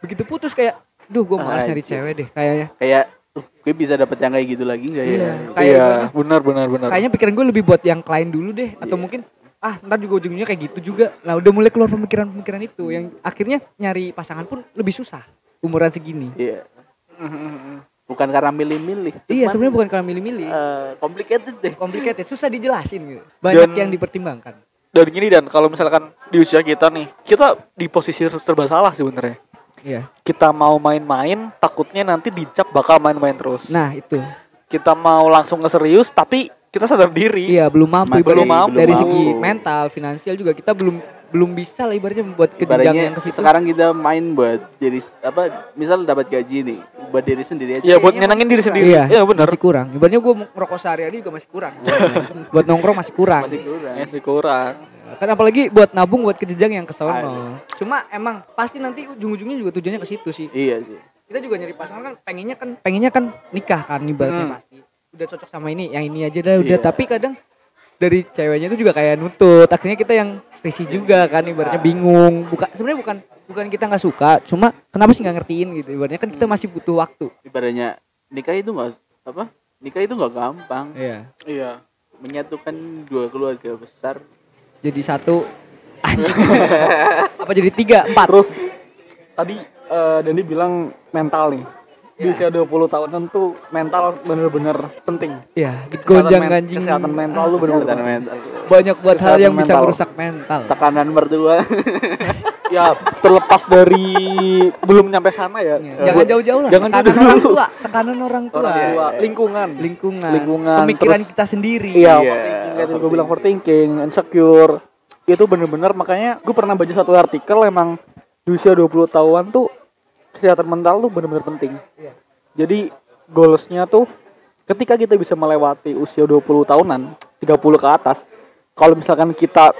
C: begitu putus kayak duh gue malas
A: Ah,
C: nyari
A: anjir.
C: cewek deh kayaknya.
A: kayak "Uh, gue bisa dapet yang kayak gitu lagi nggak ya?
C: Iya. Kayak
B: Iya, benar benar benar.
C: Kayaknya pikiran gue lebih buat yang klien dulu deh atau
A: Iya.
C: mungkin ah ntar juga ujungnya kayak gitu juga. Nah, udah mulai keluar pemikiran-pemikiran itu yang akhirnya nyari pasangan pun lebih susah umuran segini.
A: Iya. Bukan karena milih-milih. cuman,
C: Iya, sebenarnya bukan karena milih-milih.
A: eh, complicated deh.
C: complicated, susah dijelasin gitu.
B: Dan-
C: Banyak yang dipertimbangkan.
B: Dan gini dan kalau misalkan di usia kita nih, kita di posisi serba salah sebenarnya.
C: Iya.
B: Kita mau main-main, takutnya nanti dicap bakal main-main terus.
C: Nah, itu.
B: kita mau langsung ke serius tapi kita sadar diri
C: Iya, belum
A: Masih
C: mampu ibaratnya.
B: belum mampu.
C: dari
B: Belum
C: segi
A: mampu.
C: mental, finansial juga kita belum belum bisa lah ibaratnya membuat kejenjang
A: Ibaratnya
C: yang ke situ.
A: sekarang kita main buat diri apa misal dapat gaji nih buat diri sendiri aja.
B: ya buat
A: Kayaknya
B: nyenengin diri sendiri
C: Iya,
B: iya benar
C: masih kurang. Ibaratnya gue ngerokok sehari-hari juga masih kurang. buat nongkrong masih kurang.
A: Iya, masih kurang.
C: Iya
B: masih kurang
C: Kan apalagi buat nabung buat kejenjang yang ke sono. Cuma emang pasti nanti ujung-ujungnya juga tujuannya ke situ sih.
A: Iya sih.
C: Kita juga nyari pasangan kan pengennya kan pengennya kan nikah kan ibaratnya
B: Hmm.
C: pasti. Udah cocok sama ini, yang ini aja dah
A: Iya.
C: udah. Tapi kadang dari ceweknya itu juga kayak nutut. Akhirnya kita yang risih
B: Iya.
C: juga kan ibaratnya bingung. Bukan sebenarnya bukan bukan kita nggak suka, cuma kenapa sih nggak ngertiin gitu. Ibaratnya kan kita
B: Hmm.
C: masih butuh waktu.
A: Ibaratnya nikah itu enggak apa? Nikah itu enggak gampang.
C: Iya.
B: iya
A: Menyatukan dua keluarga besar.
C: Jadi satu anjing. apa jadi tiga empat
B: terus tadi eh, Dani bilang mental nih di usia 20 tahunan tuh mental bener-bener penting
C: ya
B: Kesehatan
C: digonjang
B: men-
C: ganjing
B: kesehatan mental lu
A: Kesehatan
B: bener-bener
A: mental.
C: banyak buat hal
B: kesehatan
C: yang bisa
B: mental.
C: merusak mental
A: Tekanan mertua.
B: ya terlepas dari belum nyampe sana ya
C: jangan
B: Buat-
C: jauh-jauh lah
B: jangan
C: tekanan
B: jauh
C: orang
B: dulu.
C: tua tekanan orang tua
B: orang
A: Iya,
B: tua,
A: iya.
B: lingkungan
C: lingkungan
B: Lingkungan,
C: pemikiran
B: terus-
C: kita sendiri
B: Iya,
A: Iya,
B: overthinking kayak tadi gue
A: overthinking.
B: bilang overthinking, insecure. Itu bener-bener makanya gue pernah baca satu artikel emang di usia 20 tahunan tuh kesehatan mental tuh bener-bener penting.
C: Iya.
B: Jadi goalsnya tuh ketika kita bisa melewati usia 20 tahunan, 30 ke atas, kalau misalkan kita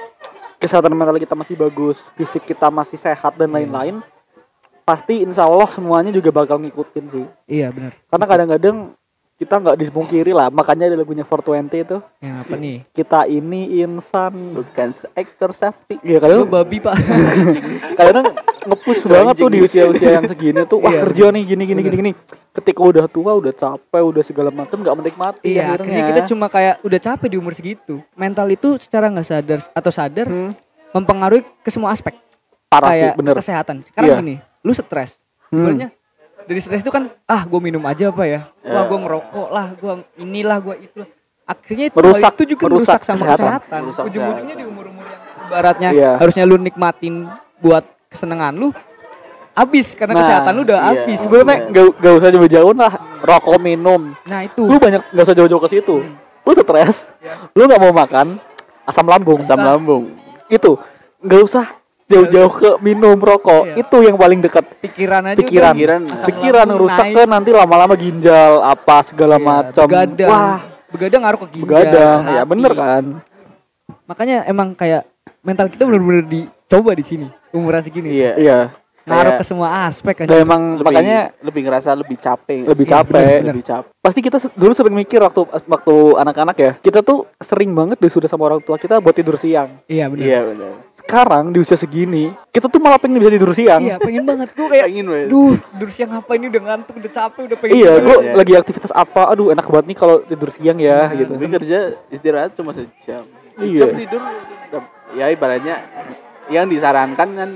B: kesehatan mental kita masih bagus, fisik kita masih sehat dan lain-lain, pasti insya Allah semuanya juga bakal ngikutin sih.
C: iya benar
B: Karena kadang-kadang kita nggak dipungkiri lah, makanya ada lagunya 420 itu
C: yang apa nih
B: kita ini insan
A: Bukan seekor sapi.
B: Iya
C: Lu
B: kadang
C: babi pak
B: kadang ngepus banget tuh di
A: Anjing.
B: usia-usia yang segini tuh wah
C: Iya,
B: kerja nih gini gini gini gini. Ketika udah tua udah capek udah segala macam nggak menikmati.
C: Iya, akhirnya kita cuma kayak udah capek di umur segitu. Mental itu secara nggak sadar atau sadar
B: Hmm,
C: mempengaruhi ke semua aspek
B: parah sih
C: kayak
B: bener.
C: kesehatan.
B: Iya.
C: Sekarang gini, lu stres.
B: Hmm. Eh.
C: Sebenarnya dari stres itu kan ah gue minum aja apa ya?
A: Ya.
C: Wah gue ngerokok lah, gue inilah, gue itulah. Akhirnya itu,
B: Merusak-
C: itu juga
B: merusak
C: merusak, sama
B: kesehatan.
C: kesehatan.
A: Merusak
C: Ujung-ujungnya
A: kesehatan.
C: di umur-umur yang ibaratnya
B: Iya.
C: harusnya lu nikmatin buat kesenangan lu habis karena
B: Nah,
C: kesehatan lu udah
A: iya.
C: habis.
B: Sebenarnya gak, gak usah jauh-jauh lah rokok minum.
C: Nah, itu.
B: Lu banyak gak usah jauh-jauh ke situ. Lu stres. Lu nggak mau makan asam lambung.
A: Asam lambung.
B: Itu nggak usah jauh-jauh ke minum rokok.
C: Iya.
B: Itu yang paling dekat.
C: pikiran aja
B: Pikiran.
C: udah
A: Pikiran.
C: asam
B: Pikiran
C: lambung
B: rusak
C: naik.
B: kan nanti lama-lama ginjal apa segala
C: Iya,
B: macam.
C: Begadang.
B: Wah,
C: begadang ngaruh ke ginjal.
B: begadang.
C: ke
B: Ya
C: hati.
B: bener kan.
C: Makanya emang kayak mental kita bener-bener dicoba di sini umuran segini.
A: Iya.
B: Iya.
A: Kayak
C: Ngaruh ke semua aspek kan.
B: Dan emang
A: Lebih,
B: makanya
A: lebih ngerasa lebih capek.
B: lebih
C: Iya,
B: capek.
C: bener.
A: Lebih capek.
B: Pasti kita se- dulu sering mikir waktu waktu anak-anak ya. Kita tuh sering banget disuruh sama orang tua kita buat tidur siang.
C: Iya bener.
A: Iya benar.
B: Sekarang di usia segini, kita tuh malah pengen bisa tidur siang.
C: Iya, pengen banget gue kayak
A: Pengen weh.
C: duh, tidur siang apa ini udah ngantuk, udah capek, udah pengen.
B: Iya,
C: tidur.
B: gue
A: Iya. Iya.
B: lagi aktivitas apa? Aduh, enak banget nih kalau tidur siang ya,
C: Nah,
B: gitu.
A: Tapi kerja istirahat cuma sejam.
B: Iya.
A: Sejam tidur. udah- Ya ibaratnya yang disarankan kan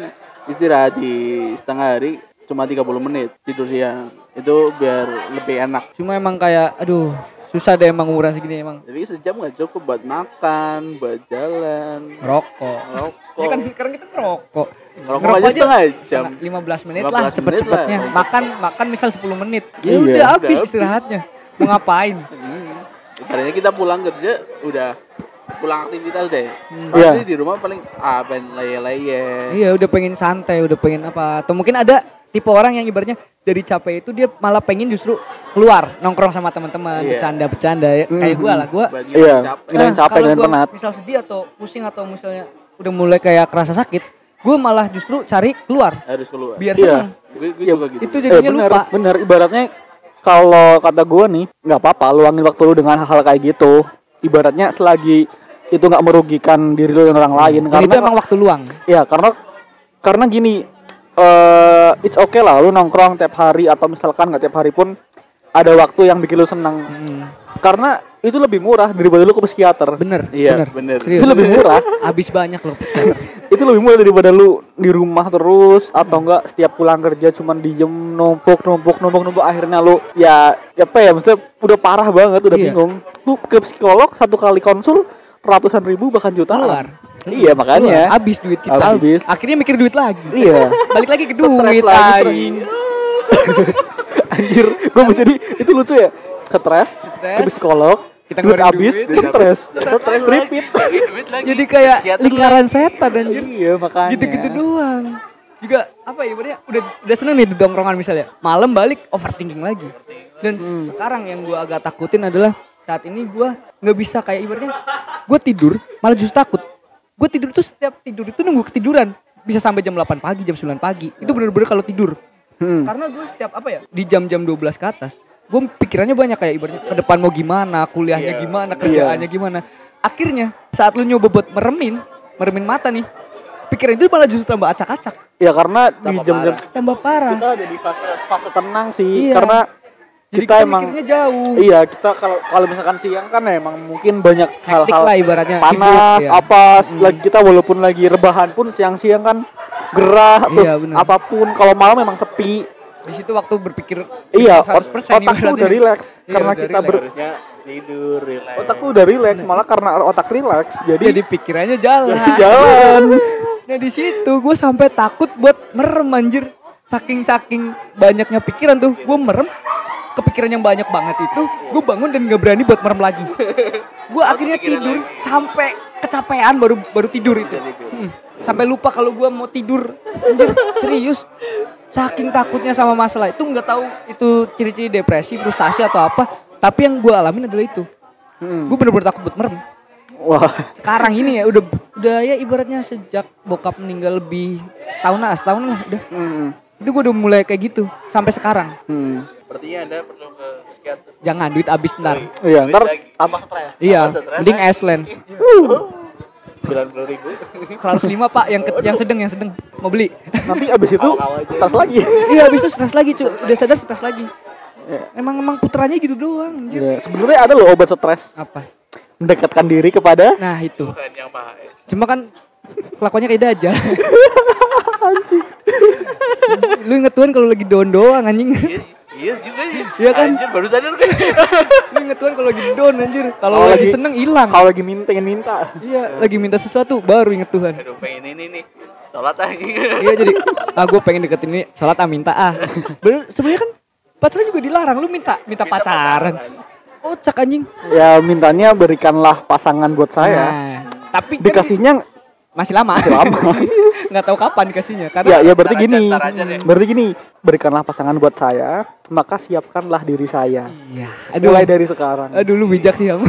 A: istirahat di setengah hari cuma 30 menit tidur siang. Itu biar lebih enak.
C: Cuma emang kayak aduh, susah deh emang umuran segini emang.
A: Tapi sejam nggak cukup buat makan, buat jalan,
C: Ngerokok.
A: ngerokok.
C: Ini kan sekarang kita ngerokok.
A: Ngerokok aja setengah jam.
C: setengah- 15 menit lah
A: 15 menit lah.
C: cepet-cepetnya. Makan makan misal 10 menit.
A: Iya,
C: Ya udah
A: udah
C: habis
A: habis.
C: istirahatnya. Mau ngapain?
A: Hmm. Ibaratnya kita pulang kerja udah pulang aktivitas deh.
C: Hmm.
A: Pasti di rumah paling ah pengen leye-leye.
C: Iya udah pengen santai, udah pengen apa Atau mungkin ada tipe orang yang ibaratnya dari capek itu dia malah pengen justru keluar Nongkrong sama teman-teman,
A: Iya.
C: bercanda-bercanda ya. Kayak
B: Mhm.
C: gue lah, gue
A: Buat
B: Iya.
A: ngilangin capek.
B: Ngilangin capek,
C: Nah, kalau
B: ngilangin
C: gua
B: penat.
C: misal sedih atau pusing atau misalnya udah mulai kayak kerasa sakit Gue malah justru cari keluar
A: harus keluar.
C: biar
B: Iya.
C: seneng
A: Gue gue
B: Ya,
A: juga gitu.
C: Itu
B: Eh,
C: jadinya
B: bener,
C: lupa
B: bener. Ibaratnya kalau kata gue nih, nggak apa-apa luangin waktu lu dengan hal-hal kayak gitu. Ibaratnya selagi itu nggak merugikan diri lu dan orang lain.
C: Dan
B: Karena
C: Hmm. itu emang waktu luang
B: Ya karena karena gini eh it's okay lah lu nongkrong tiap hari atau misalkan nggak tiap hari pun ada waktu yang bikin lu senang
C: Mm,
B: karena itu lebih murah daripada lu ke psikiater
C: Bener,
A: Iya,
C: bener,
A: bener.
B: itu
C: Serius,
B: lebih murah
C: abis banyak loh psikiater
B: itu lebih murah daripada lu di rumah terus atau
C: Hmm.
B: enggak setiap pulang kerja cuman diem numpuk numpuk numpuk numpuk akhirnya lu ya apa ya maksudnya udah parah banget udah
C: Iya.
B: bingung lu ke psikolog satu kali konsul ratusan ribu bahkan jutaan
C: Keluar
B: iya makanya
C: Abis duit kita
B: Abis.
C: Akhirnya mikir duit lagi
B: iya
C: Balik lagi ke
A: Stres
C: duit
A: lagi,
C: anjing.
B: anjir gue jadi itu lucu ya stres ke psikolog
C: Kita
B: duit
C: ngeluarin
B: abis
C: duit.
B: ke stres
A: Stres lagi.
B: repeat
A: Lagi duit lagi.
C: Jadi kayak
A: Psikiater
C: lingkaran setan anjir.
B: iya makanya
C: Gitu-gitu doang. Juga apa ya ibaratnya udah udah seneng nih di tongkrongan misalnya. Malam balik overthinking lagi. Dan sekarang yang gua agak takutin adalah saat ini gua nggak bisa kayak ibaratnya gua tidur malah justru takut. Gua tidur tuh setiap tidur itu nunggu ketiduran. Bisa sampai jam 8 pagi, jam 9 pagi. Itu bener-bener kalau tidur.
B: Hmm.
C: Karena gue setiap apa ya di jam-jam 12 ke atas, gue pikirannya banyak kayak ibaratnya ke depan mau gimana, kuliahnya
A: Iya.
C: gimana, kerjaannya gimana. Akhirnya saat lu nyoba buat meremin, meremin mata nih, pikiran itu malah justru tambah acak-acak,
B: ya karena di
A: Tambah
B: jam-jam
A: parah.
C: tambah parah.
B: kita ada di fase fase tenang sih
C: Iya.
B: karena
C: Jadi
B: kita
C: kita,
B: emang
C: mikirnya jauh.
B: iya kita kalau kalau misalkan siang kan emang mungkin banyak
C: Hektik
B: hal-hal
C: lah ibaratnya.
B: panas
C: sibuk, ya.
B: apa
C: Hmm.
B: lagi kita walaupun lagi rebahan pun siang-siang kan gerah terus
C: Iya, bener.
B: apapun kalau malam memang sepi
C: Di situ waktu berpikir
B: iya ot- otak lu
C: 100% ibaratnya.
B: udah rileks
C: Iya,
B: karena
C: udah
B: kita
C: rileks.
B: ber,
A: Harusnya tidur, relax.
B: otak lu udah rileks malah karena otak rileks jadi
C: jadi Iya, pikirannya jalan.
B: jadi jalan
C: Nah di situ gue sampai takut buat merem anjir. Saking saking banyaknya pikiran tuh, gue merem. Kepikiran yang banyak banget itu, gue bangun dan gak berani buat merem lagi. Gue akhirnya tidur sampai kecapean baru baru tidur itu.
A: Jadi gue-
C: Hmm, sampai lupa kalau gue mau tidur. Anjir, serius. Saking takutnya sama masalah itu nggak tahu itu ciri-ciri depresi, frustasi atau apa. Tapi yang gue alamin adalah itu.
B: Hmm.
C: Gue bener-bener takut buat merem
B: wah
C: sekarang ini ya udah udah ya ibaratnya sejak bokap meninggal lebih setahun lah setahun lah udah
B: hmm.
C: itu gue udah mulai kayak gitu sampai sekarang
B: Hmm.
A: Sepertinya Anda perlu ke psikiater.
C: jangan duit abis ntar
B: iya
A: Duit
B: ntar
A: lagi.
B: tambah stres eh.
C: iya
A: Apa stres
C: mending Iceland
A: 90 ribu
C: 105 pak yang ke- yang sedang yang sedang mau beli
B: Nanti abis itu
A: Awal-awal aja.
B: tas lagi.
C: iya habis itu stres lagi cuy udah sadar stres lagi
B: Iya.
C: emang emang putranya gitu doang anjir.
B: Iya, Sebenarnya ada loh obat stres
C: apa
B: mendekatkan diri kepada
C: nah itu
A: bukan yang mahal
C: cuma kan kelakuannya kayak dajal lu inget Tuhan kalau lagi down doang anjing
A: Iya, iya juga sih.
C: Iya kan?
A: Anjir, baru sadar kan.
C: lu inget Iya, Tuhan kalau lagi down anjir kalau
B: Kalau
C: Oh, lagi
B: lagi-
C: seneng hilang
B: kalau lagi minta pengen minta.
C: iya lagi minta sesuatu baru inget Tuhan
A: Aduh, pengen ini nih. Salat anjing.
C: Iya jadi ah gue pengen deketin ini sholat ah minta ah. Bener sebenarnya kan pacaran juga dilarang lu minta minta, pacaran. Kocak anjing.
B: Ya mintanya berikanlah pasangan buat saya.
C: Nah, tapi kan
B: Dikasihnya
C: masih lama. Iya. Masih
B: lama.
C: Nggak tahu kapan dikasihnya
B: ya
C: karena
B: ya
A: Ntar
B: berarti
A: aja,
B: gini.
A: ntar aja deh.
B: Berarti gini, berikanlah pasangan buat saya, maka siapkanlah diri saya.
C: iya. Aduh,
B: Mulai dari sekarang.
C: aduh lu bijak sih kamu.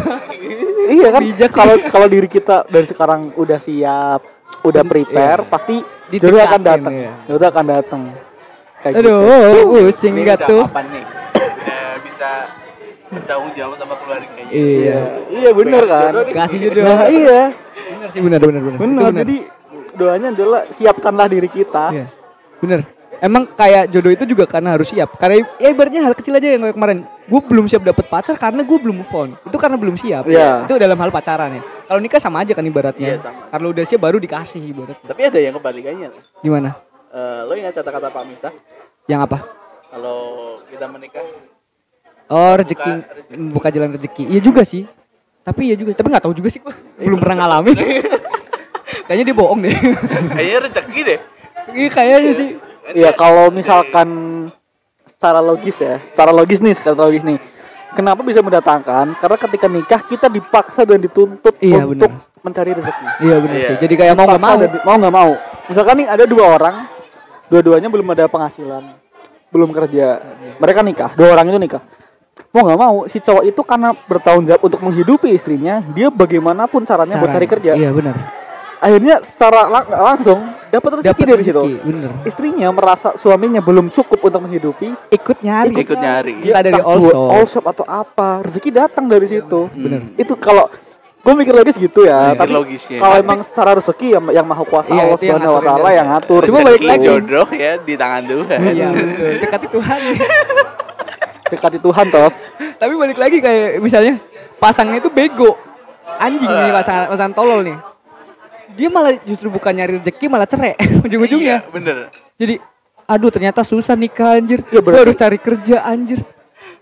B: Iya kan?
C: Bijak sih.
B: Kalau kalau diri kita dari sekarang udah siap, udah prepare,
C: Iya.
B: pasti
C: Ditempatin,
B: jodoh akan datang.
C: iya.
B: Jodoh akan datang. Kayak gitu.
C: aduh, oh, pusing
A: Ini
C: gak
A: udah
C: tuh.
A: Kapan nih? Udah bisa bertanggung jawab sama keluarganya.
B: Iya.
C: Iya.
B: Iya bener
A: Kasih
B: kan?
A: jodoh deh.
C: Kasih
B: Nah,
C: jodoh.
B: iya.
C: Bener sih bener bener bener.
B: Bener.
C: Itu
B: Jadi doanya adalah siapkanlah diri kita.
C: Iya. Bener. Emang kayak jodoh itu juga karena harus siap. Karena ya ibaratnya hal kecil aja yang kayak kemarin. Gue belum siap dapet pacar karena gue belum move on. Itu karena belum siap.
B: Iya.
C: Itu dalam hal pacaran ya. Kalau nikah sama aja kan ibaratnya.
A: Iya, sama.
C: Kalau udah siap baru dikasih ibarat.
A: Tapi ada yang kebalikannya.
C: Gimana?
A: Eh, lo ingat kata-kata Pak Minta?
C: Yang apa?
A: Kalau kita menikah,
C: Oh rezeki
A: rezeki.
C: buka jalan rezeki. Iya juga sih. Tapi iya juga. Tapi nggak tahu juga sih gue.
A: Iya.
C: Belum pernah ngalamin. Kayaknya dia bohong deh.
A: kayaknya Eh, rezeki deh.
C: Iya kayaknya sih.
B: Iya, kalau misalkan secara logis ya, secara logis nih, secara logis nih. Kenapa bisa mendatangkan? Karena ketika nikah kita dipaksa dan dituntut
C: Iya,
B: untuk
C: benar.
B: mencari rezeki.
C: Iya benar
A: Iya.
C: sih. Jadi kayak mau nggak
B: Paksa
C: mau.
B: dan- mau nggak mau. Misalkan nih ada dua orang, dua-duanya belum ada penghasilan, belum kerja. Mereka nikah, dua orang itu nikah. Mau nggak mau, si cowok itu karena bertanggung jawab untuk menghidupi istrinya, dia bagaimanapun caranya buat
C: Caranya.
B: cari kerja.
C: Iya benar.
B: Akhirnya secara lang- langsung dapat rezeki
C: Dapat
B: dari
C: rezeki.
B: situ.
C: Bener.
B: Istrinya merasa suaminya belum cukup untuk menghidupi.
C: ikut nyari
A: Ikut nyari.
C: Gila
B: entah
C: dari all
B: jual
C: shop.
B: all shop atau apa, rezeki datang dari situ.
C: bener Eh,
B: Itu kalau gue mikir logis gitu ya,
A: Mikir
B: tapi
A: Hmm, logisnya.
B: kalau emang secara rezeki yang, yang maha kuasa
C: Iya,
B: Allah
C: itu yang
B: Subhanahu wa
C: ngaturin
B: taala
C: dia.
B: yang ngatur.
A: Rezeki
B: Cuma balik lagi
A: jodoh ya di tangan Tuhan.
C: iya betul dekati Tuhan
B: dekati Tuhan tos.
C: tapi balik lagi kayak misalnya pasangnya itu bego anjing nih pasangan pasangan tolol nih dia malah justru bukan nyari rezeki malah cerai ujung-ujungnya
A: Iya, bener.
C: jadi aduh ternyata susah nikah anjir
B: Ya,
C: Gua
B: berarti-
C: harus cari kerja anjir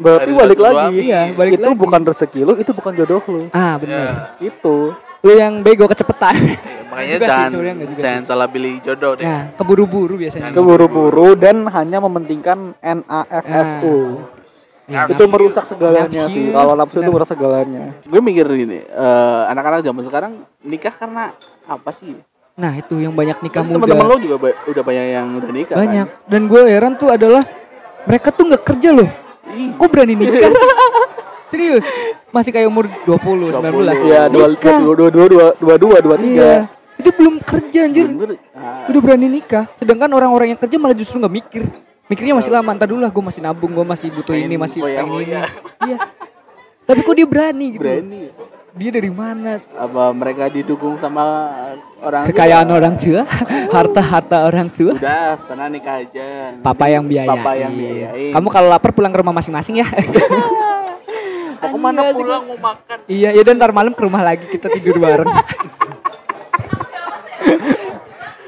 B: Berarti
A: Harus
B: balik
A: bantu
B: lagi.
A: suami. Iya,
C: balik
B: itu
C: lagi.
B: bukan rezeki lu, itu bukan jodoh lu.
C: ah
A: Iya.
C: bener
B: Itu.
C: lu yang bego kecepetan
A: Iya, makanya
C: Juga sih,
A: jangan
C: sebenarnya nggak juga
A: jangan salah pilih jodoh deh.
C: nah keburu-buru biasanya Iya.
B: Keburu-buru dan hanya mementingkan NAFSU.
C: Nah,
B: Itu merusak segalanya
C: Nafsu.
B: sih. Kalau nafsu itu
C: Benar.
B: merusak segalanya.
A: Gue mikir gini, eh, anak-anak zaman sekarang nikah karena apa sih?
C: nah itu yang banyak nikah
A: Tapi
C: muda
A: Kan Teman-teman lo juga ba- udah banyak yang udah nikah
C: banyak
A: kan?
C: dan gue heran tuh adalah mereka tuh nggak kerja loh
A: Ih,
C: kok berani nikah sih? serius masih kayak umur 20, 19
B: Iya, dua
C: Nikah.
B: dua dua dua dua dua dua dua tiga.
C: Iya. itu belum kerja anjir
A: bener. Ah,
C: udah berani nikah sedangkan orang-orang yang kerja malah justru nggak mikir mikirnya masih lama ntar dulu lah gue masih nabung gue masih butuh
A: Pengen
C: ini masih
A: foya-foya.
C: pengen ini iya tapi kok dia berani gitu
A: berani.
C: dia dari mana
A: Apa mereka didukung sama eh, orang tua?
C: kekayaan orang tua harta harta orang tua
A: Udah, sana nikah aja.
C: papa yang biayain
A: Papa yang biayain.
C: kamu kalau lapar pulang ke rumah masing-masing ya
A: mau kemana pulang mau makan?
C: Iya, ya dan ntar malam ke rumah lagi kita tidur bareng.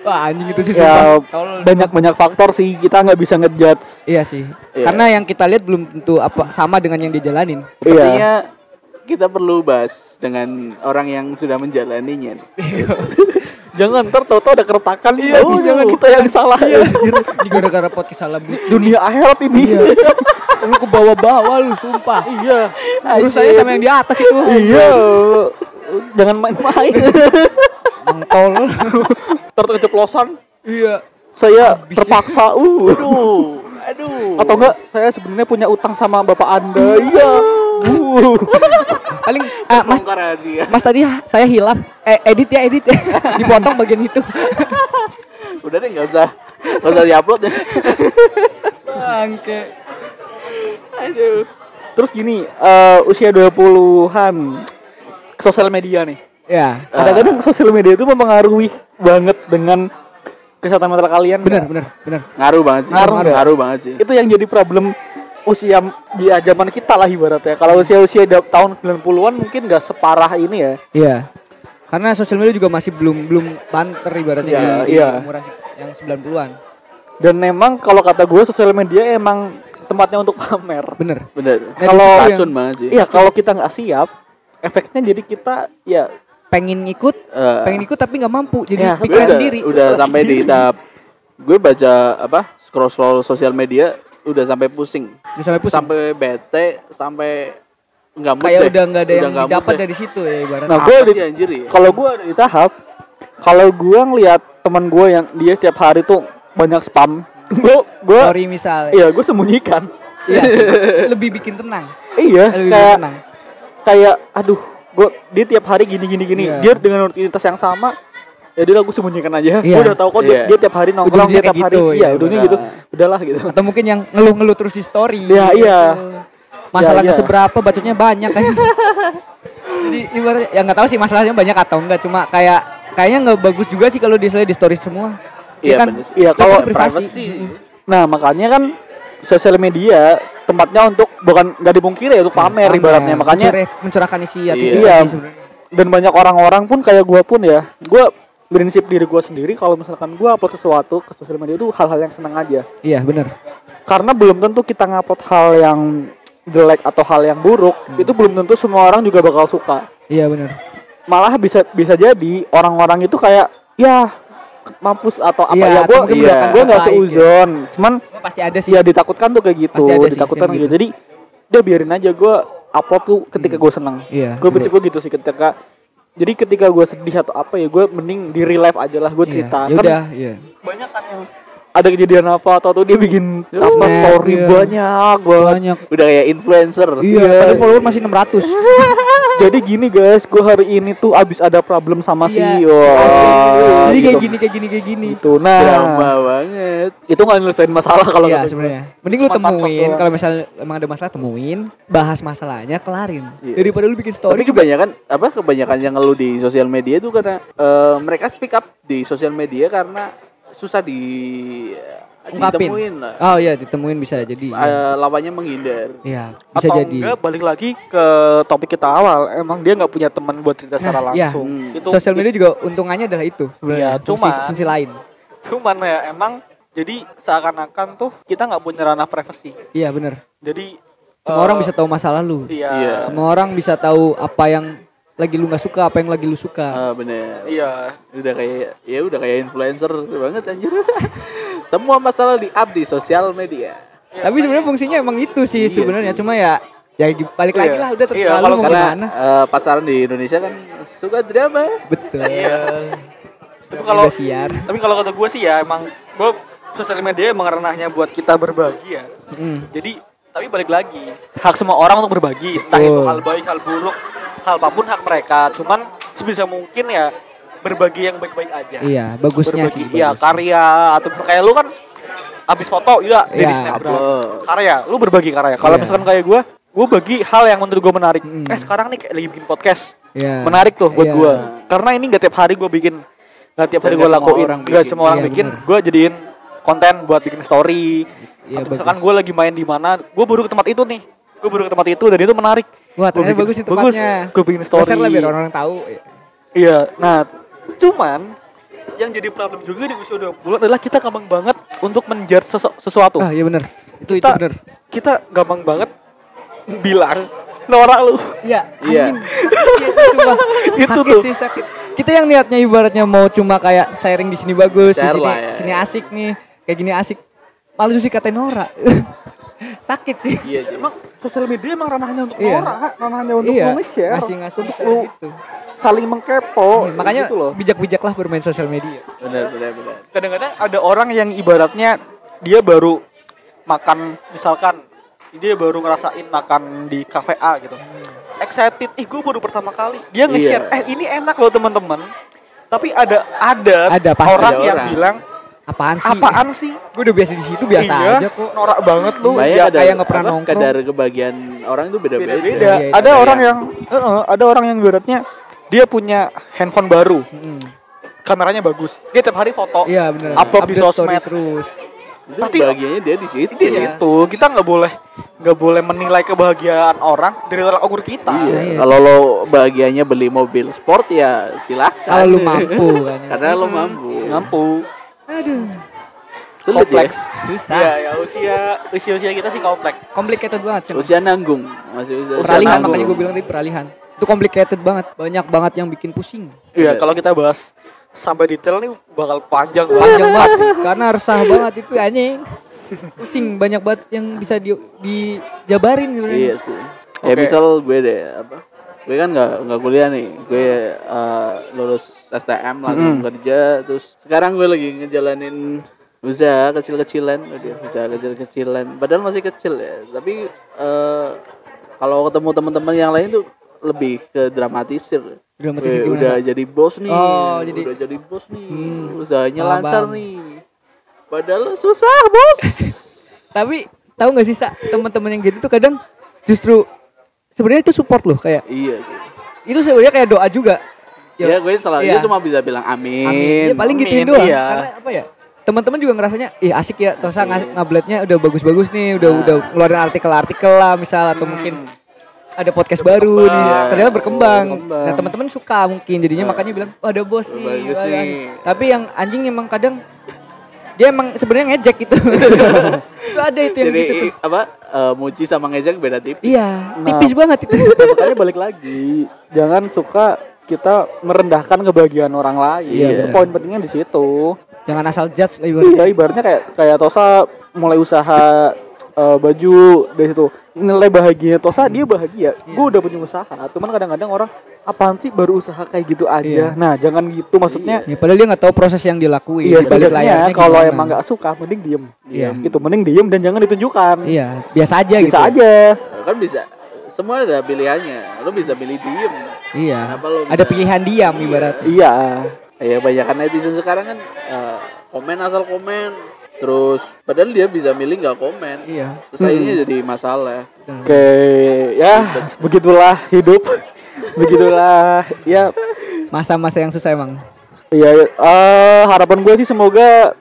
C: Wah anjing itu sih
B: Ya,
C: sumpah. Tolol.
B: banyak banyak faktor sih kita nggak bisa ngejudge.
C: Iya sih.
A: Iya.
C: Karena yang kita lihat belum tentu apa sama dengan yang dijalanin.
B: Iya.
A: Sepertinya ya, kita perlu bahas dengan orang yang sudah menjalaninya. nih.
B: Jangan ntar tau-tau ada keretakan.
C: Iya,
B: Oh,
C: iya.
B: jangan kita yang salah.
C: Anjir, ini gara-gara podcast salah buci.
B: Dunia akhirat ini.
C: Iya. lu ke bawah-bawah lu sumpah.
B: Iya.
C: Urus saya sama yang di atas itu.
B: Iya. Jangan main-main.
C: Emang tolol.
B: Ntar keceplosan.
C: Iya.
B: Saya terpaksa. Uh.
A: Aduh, aduh.
B: Atau enggak saya sebenarnya punya utang sama bapak Anda. Iya. Uh.
C: Paling ah, Mas
A: Bongkar aja ya.
C: Mas tadi ah, saya hilaf. Eh edit ya edit. Dipotong bagian itu.
A: Udah deh nggak usah nggak usah diupload ya.
C: Bangke.
A: Aduh.
B: Terus gini, eh, usia 20-an sosial media nih.
C: Ya,
B: Kadang-kadang sosial media itu mempengaruhi banget dengan kesehatan mental kalian.
C: benar, benar, benar.
A: Ngaruh banget sih.
B: Ngaruh.
A: ngaruh banget sih.
B: Itu yang jadi problem usia di zaman kita lah ibaratnya. Kalau usia-usia da- tahun 90-an mungkin nggak separah ini ya.
C: Iya. Karena sosial media juga masih belum belum banter ibaratnya
A: Iya,
C: di- di
B: iya.
C: umuran yang 90-an.
B: Dan memang kalau kata gue sosial media emang tempatnya untuk pamer.
C: Bener.
A: Bener.
B: Kalau-
A: racun banget sih.
B: Iya, kalau kita nggak siap, efeknya jadi kita ya
C: Pengen ikut,
A: Eh,
C: pengen ikut tapi nggak mampu. Jadi
B: Ya,
A: gue
C: pikiran
A: udah,
C: sendiri.
A: udah sampai di tahap gue baca apa scroll scroll sosial media udah sampai pusing,
C: Udah sampai pusing.
A: sampai bete sampai nggak mood
C: Kayak
A: deh.
C: udah nggak ada yang
A: nggak mood
C: dapat
A: deh.
C: dari situ ya ibaratnya.
B: Nah,
A: Apa
B: gue
A: sih
B: di-
A: anjir ya?
B: kalau gue ada di tahap kalau gue ngelihat teman gue yang dia setiap hari tuh banyak spam, gue gue
C: Sorry misalnya.
B: iya gue sembunyikan.
C: Iya. lebih bikin tenang.
B: Iya,
C: Lebih bikin
B: kayak
C: tenang.
B: kayak aduh, gue dia tiap hari gini gini gini.
C: Iya.
B: Dia dengan rutinitas yang sama, ya udah aku sembunyikan aja.
C: Iya.
B: Gue udah tahu kok dia,
A: Iya.
B: dia tiap hari nongkrong,
C: Ujungnya
B: dia tiap
C: kayak
B: hari
C: gitu,
B: iya,
C: iya,
B: udahnya
A: benar.
B: gitu. Udahlah gitu.
C: Atau mungkin yang ngeluh-ngeluh terus di story.
B: Iya,
C: gitu.
B: iya. Iya,
C: Masalah nggak
B: iya.
C: seberapa, bacotnya banyak kan. Jadi ibaratnya ya nggak tahu sih masalahnya banyak atau enggak cuma kayak kayaknya nggak bagus juga sih kalau di di story semua.
A: Iya
C: Iya kan?
A: bener sih.
B: Iya, kalau
C: Tapi privasi.
A: Privacy.
B: Nah makanya kan sosial media tempatnya untuk bukan nggak dipungkiri ya untuk
C: Iya,
B: pamer, ibaratnya makanya
C: mencurah- mencurahkan isi hati.
A: Iya.
B: Iya.
C: sih sebenarnya.
B: dan banyak orang-orang pun kayak gua pun ya gua prinsip diri gua sendiri kalau misalkan gua upload sesuatu ke sosial media itu hal-hal yang seneng aja
C: Iya, benar.
B: karena belum tentu kita ngupload hal yang jelek atau hal yang buruk
C: Hmm.
B: itu belum tentu semua orang juga bakal suka
C: Iya, benar.
B: malah bisa bisa jadi orang-orang itu kayak ya mampus atau apa
C: Iya,
B: ya gua
C: atau mungkin
A: mendapatkan
B: gua nggak
C: terbaik ya.
B: seuzon cuman
C: Cuma Pasti ada sih.
B: ya ditakutkan tuh kayak gitu
C: Pasti ada sih
B: ditakutkan
C: yang
B: gitu. jadi udah biarin aja gua upload tuh ketika gua seneng
C: Iya.
B: gue prinsip gue gitu sih ketika jadi ketika gue sedih atau apa ya gue mending di real life aja lah gue cerita
C: Ya
B: kan
C: udah, iya.
B: banyak kan yang ada kejadian apa atau tuh dia bikin
A: Terus
B: apa
C: net,
B: story
C: iya.
B: banyak banget
C: Banyak.
A: Udah kayak influencer.
C: Iya,
B: Iya.
C: padahal follower masih 600.
B: jadi gini guys gue hari ini tuh abis ada problem sama si
C: Iya.
B: wah,
C: Jadi kayak
B: gitu.
C: gini, kayak gini, kayak gini.
B: Gitu. nah
A: Drama banget.
B: itu nggak nyelesain masalah kalau
C: Iya,
B: kata gue.
C: sebenarnya. Mending lu
B: Cuma pansos
C: temuin
B: doang.
C: kalau misalnya emang ada masalah temuin, bahas masalahnya, kelarin.
A: Iya.
C: Daripada lu bikin
A: Tapi
C: story
A: kebanyakan apa kebanyakan yang ngeluh di sosial media itu karena eh, mereka speak up di sosial media karena susah di eh,
C: Ungkapin.
A: ditemuin lah.
C: Oh iya, ditemuin bisa jadi. Iya,
A: Eh, lawannya menghindar.
C: bisa
B: atau
C: jadi.
B: enggak balik lagi ke topik kita awal emang dia nggak punya teman buat cerita secara
C: iya.
B: langsung
A: Hmm.
B: itu
C: Sosial media juga untungannya adalah itu sebenarnya.
B: Iya, cuman-
C: fungsi, fungsi lain.
B: cuman ya emang jadi seakan-akan tuh kita nggak punya ranah privasi
C: Iya, bener
B: jadi eh,
C: Semua orang bisa tahu masa lalu.
B: iya
A: Iya.
C: Semua orang bisa tahu apa yang lagi lu nggak suka, apa yang lagi lu suka.
A: Ah, bener.
B: iya
A: Udah kayak ya udah kayak influencer banget anjir. Semua masalah di up di sosial media.
B: iya.
C: Tapi sebenarnya fungsinya emang itu sih
A: Iya
C: sebenarnya.
A: sih.
C: Cuma ya ya di- balik lagi
B: Iya.
C: lah udah terus
B: Iya,
C: lu
B: kalau
C: mau
A: Karena
C: gimana.
A: eh, pasaran di Indonesia kan suka drama.
C: Betul.
B: Iya. tapi kalau
C: Bebas Iya. siar.
B: tapi kalau kata gue sih ya emang gue sosial media emang ranahnya buat kita berbagi ya
C: Mm.
B: jadi tapi balik lagi hak semua orang untuk berbagi entah itu
C: Betul.
B: hal baik hal buruk hal apapun hak mereka cuman sebisa mungkin ya berbagi yang baik-baik aja
C: Iya, bagusnya
B: berbagi
C: sih.
B: iya
C: bagus.
B: karya atau kayak lu kan abis foto iya dari
C: Iya,
B: snapgram
A: Upload.
B: karya lu berbagi karya kalau
C: Iya.
B: misalkan kayak gue gue bagi hal yang menurut gue menarik
C: Mm.
B: eh sekarang nih kayak lagi bikin podcast
C: Iya.
B: menarik tuh buat
C: Iya.
B: gua karena ini gak tiap hari gua bikin gak
A: Dan
B: tiap hari
A: nggak
B: gua
A: semua
B: lakuin
A: orang
B: gak
A: bikin.
B: semua orang
C: Iya,
B: bikin
C: bener.
B: gua jadiin konten buat bikin story
C: Iya,
B: atau
C: bagus.
B: misalkan gua lagi main di mana gua baru ke tempat itu nih gua baru ke tempat itu dan itu menarik
C: Wah,
B: Gua
C: ternyata
B: bikin-
C: bagus itu
B: bagus.
C: tempatnya.
B: Gua bikin story.
C: Share lah biar orang-orang tahu.
B: iya nah cuman yang jadi problem juga di usia 20 adalah kita gampang banget untuk menjar sesuatu
C: Ah, iya benar. Itu itu
B: Kita-
C: benar.
B: kita gampang banget bilang norak lu
C: Iya.
A: Iya.
C: anjing. Iya, sumpah.
B: Itu
C: sakit
B: tuh.
C: sih sakit. Kita yang niatnya ibaratnya mau cuma kayak sharing di sini bagus,
A: Share
C: di sini,
A: lah ya.
C: sini asik nih, kayak gini asik. Malah justru dikatain norak. sakit sih.
A: Iya, jadi.
B: emang sosial media emang ranahnya untuk
C: Iya.
B: norak ranahnya untuk
C: iya,
B: nge-share
C: ngasih ngasih
B: untuk
C: share
B: lu
C: gitu.
B: saling mengkepo
C: Iya, makanya
B: gitu loh
C: bijak-bijaklah bermain sosial media.
A: bener bener bener.
B: kadang-kadang ada orang yang ibaratnya dia baru makan misalkan dia baru ngerasain makan di kafe A gitu
C: Hmm.
B: excited ih gue baru pertama kali dia nge-share
A: Iya.
B: eh ini enak loh teman-teman tapi ada ada,
C: Ada, pasti
B: orang
A: ada
B: yang
A: orang.
B: bilang
C: Apaan sih?
B: apaan sih
C: Gue udah biasa di situ biasa
B: Iya,
C: aja kok.
B: norak banget lu
A: Bayang
C: ya,
A: kadar-
C: kayak nggak pernah
A: apa,
C: nongkrong.
A: Kadar kebahagiaan orang itu beda-beda.
B: beda-beda.
C: Iya, iya,
B: ada
A: iya.
B: orang yang eh, eh, ada orang yang ibaratnya dia punya handphone baru
C: Mm-mm.
B: kameranya bagus dia tiap hari foto
C: Iya benar.
B: Upload di
C: story
B: sosmed.
C: terus.
A: Itu
B: Pasti-
A: bahagianya dia di situ. Iya.
B: di
C: Iya.
B: situ kita nggak boleh nggak boleh menilai kebahagiaan orang dari tolak ukur kita
A: Iya.
C: iya.
A: Kalau lo bahagianya beli mobil sport ya silakan.
C: Kalau lu mampu kan. ya.
A: Karena lo mampu.
B: Hmm. mampu
C: Aduh,
A: Sulit ya.
B: kompleks
C: susah.
B: Iya, ya usia usia usia kita sih kompleks
C: Complicated banget sih.
A: Usia nanggung, masih usia, usia
C: Peralihan
A: nanggung.
C: makanya gue bilang tadi peralihan. Itu complicated banget. Banyak banget yang bikin pusing.
B: Iya, kalau kita bahas sampai detail nih bakal panjang banget.
C: Panjang banget karena resah banget itu anjing. Pusing banyak banget yang bisa di, dijabarin sebenarnya.
A: Iya sih. Ya
B: Oke.
A: misal gue deh apa? Gue kan nggak nggak kuliah nih. Gue eh, lulus STM langsung
C: Hmm.
B: Mm-mm.
A: kerja. Terus sekarang gue lagi ngejalanin usaha kecil-kecilan, Aduh, usaha kecil-kecilan. Padahal masih kecil ya. Tapi eh, kalau ketemu teman-teman yang lain tuh lebih ke dramatisir.
C: Dramatisir
A: Gue Iya,
C: gimana,
A: udah
C: Sa?
A: jadi bos nih.
C: Oh, jadi-
A: udah jadi bos nih.
C: Hmm.
A: Usahanya
C: Paham,
A: lancar
C: paham.
A: nih. Padahal susah, Bos.
C: Tapi tahu nggak sih Sa, teman-teman yang gitu tuh kadang justru sebenarnya itu support loh kayak
A: iya sih.
C: itu sebenarnya kayak doa juga.
A: Ya, gue selalu
C: iya.
A: dia cuma bisa bilang amin.
C: Amin. Ya, paling gituin
B: Amin,
C: doang.
B: iya.
C: Karena apa ya? Teman-teman juga ngerasanya, ih asik ya, terus
A: Asik.
C: ngabletnya udah bagus-bagus nih, udah
A: Nah.
C: udah ngeluarin artikel-artikel lah misal
B: Hmm.
C: atau mungkin ada podcast baru nih,
A: Berkembang.
C: ternyata berkembang.
B: Iya, Berkembang. Iya.
C: Nah, teman-teman suka mungkin jadinya
A: Nah.
C: makanya bilang, "Wah, ada bos nih."
A: Bagus
C: wah,
A: nih.
C: asik. Tapi yang anjing emang kadang dia emang sebenarnya ngejek gitu. itu ada itu yang
A: Jadi
C: gitu tuh.
A: apa? eh, Muji sama ngejek beda tipis.
C: Iya,
B: Nah.
C: tipis banget itu.
B: Makanya balik lagi, jangan suka kita merendahkan kebahagiaan orang lain.
A: Iya,
B: Itu
A: benar.
B: Poin pentingnya di situ.
C: Jangan asal judge lah ibaratnya.
B: Iya, ibaratnya kayak kayak Tosa mulai usaha eh, baju dari situ. Nilai bahagia Tosa dia
C: Iya.
B: bahagia. Gue udah punya usaha, cuman kadang-kadang orang apaan sih baru usaha kayak gitu aja.
C: Iya.
B: Nah, jangan gitu maksudnya.
C: Ya, padahal dia nggak tahu proses yang dilakuin.
B: Iya,
C: balik
B: setidaknya
C: layarnya
B: kalau
C: gimana.
B: emang nggak suka mending diem.
C: Iya.
B: Gitu, mending diem dan jangan ditunjukkan.
C: Iya, biasa aja gitu.
B: Bisa aja.
A: Kan bisa semua ada pilihannya. Lo bisa milih diem.
C: Iya.
A: Kenapa lo
C: Ada
A: bisa-
C: pilihan diam
A: Iya.
C: ibaratnya.
B: Iya.
A: Ya banyak netizen sekarang kan eh, komen asal komen. Terus padahal dia bisa milih nggak komen.
C: Iya.
A: Terus akhirnya jadi masalah.
B: Oke, ya begitulah hidup. begitulah ya
C: Masa-masa yang susah emang.
B: ya eh, harapan gue sih semoga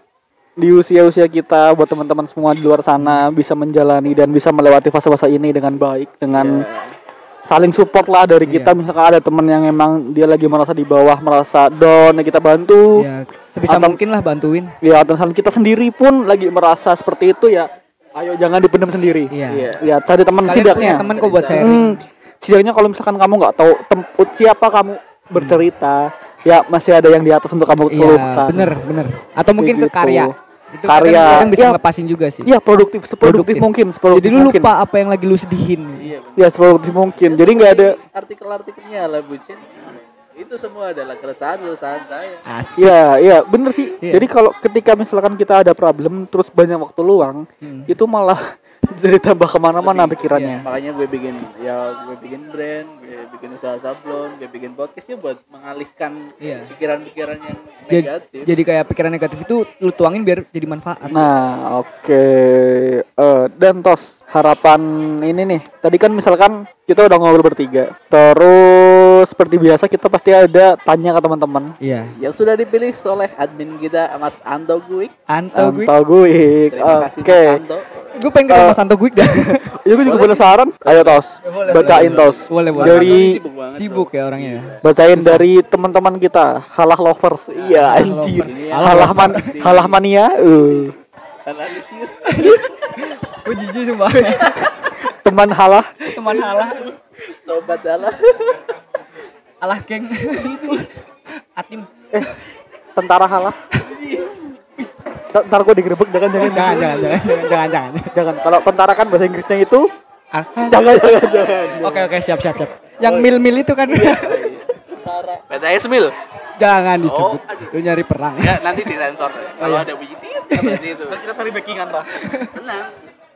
B: di usia-usia kita buat teman-teman semua di luar sana bisa menjalani dan bisa melewati fase-fase ini dengan baik
C: Iya.
B: dengan saling support lah dari kita misalkan ada teman yang emang dia lagi merasa di bawah merasa down ya kita bantu
C: Iya, sebisa
B: Atau-
C: mungkin lah bantuin.
B: ya dan saling kita sendiri pun lagi merasa seperti itu ya ayo jangan dipendam sendiri
C: Iya.
A: Iya.
B: ya cari teman
C: Kalian punya
B: setidaknya
C: teman kok buat sharing.
B: Hmm, setidaknya kalau misalkan kamu nggak tahu tempat siapa kamu bercerita, ya masih ada yang di atas untuk kamu
C: Hmm. Iya,
B: keluhkan.
C: bener, bener. Atau mungkin
B: Kayak
C: ke
B: gitu.
C: karya. Itu
B: Karya.
C: kadang- kadang bisa
B: Iya.
C: ngelepasin juga sih.
B: Iya, produktif seproduktif
C: Produktif.
B: mungkin,
C: Jadi
B: seproduktif
C: lu
B: mungkin.
C: lupa apa yang lagi lu sedihin.
A: Iya.
B: Ya, seproduktif mungkin. Jadi nggak ada
A: artikel-artikelnya lah bucin. Itu semua adalah keresahan-keresahan saya.
C: Asik.
B: Iya, iya, bener sih.
C: Iya.
B: Jadi kalau ketika misalkan kita ada problem terus banyak waktu luang,
C: Hmm.
B: itu malah bisa ditambah
A: Lebih,
B: kemana-mana
C: Iya,
A: iya,
B: pikirannya.
A: makanya gue bikin ya gue bikin brand gue bikin usaha sablon gue bikin podcastnya buat mengalihkan
C: Iya.
A: pikiran-pikiran yang
C: Jadi,
A: negatif
C: jadi kayak pikiran negatif itu lu tuangin biar jadi manfaat.
B: Nah, oke. Eh, dan tos harapan ini nih. Tadi kan misalkan kita udah ngobrol bertiga. Terus seperti biasa kita pasti ada tanya ke teman-teman.
C: Iya.
A: yang sudah dipilih oleh admin kita Mas Anto Guik
C: Anto gue.
B: Anto Guik.
A: terima kasih
B: Oke.
A: Mas Anto
C: Gue pengen ketemu
B: Eh.
C: Mas Anto gue dah.
B: Ya gue juga penasaran. Ayo tos. Bacain tos.
C: Ya, Boleh, boleh.
A: Mas Anto ini
B: Dari
A: sibuk banget
C: Sibuk
A: bro.
C: ya orangnya
B: Iya.
C: ya.
B: bacain dari teman-teman kita halah lovers iya anjir
A: lovers. Iya,
B: halah man
A: lovers sendiri.
B: halah mania eh.
A: analisis
C: Gue jijik sumpah.
B: teman halah
C: Teman halah.
A: sobat dalam
C: Alah geng. Atim.
B: tentara halah Ntar- ntar gue digerebek jangan jangan
C: Jangan, jangan, jangan, jangan, jangan, jangan.
B: jangan kalau tentara kan bahasa Inggrisnya itu
C: Ah,
B: jangan jangan jangan
C: Oke oke siap siap siap. Yang mil-mil itu kan
A: PTS Mil
C: jangan disebut.
A: Oh, aduh.
C: Lu nyari perang.
A: ya nanti disensor kalau
C: Iya.
A: ada bunyi tit berarti itu
B: kita cari backingan pak
A: tenang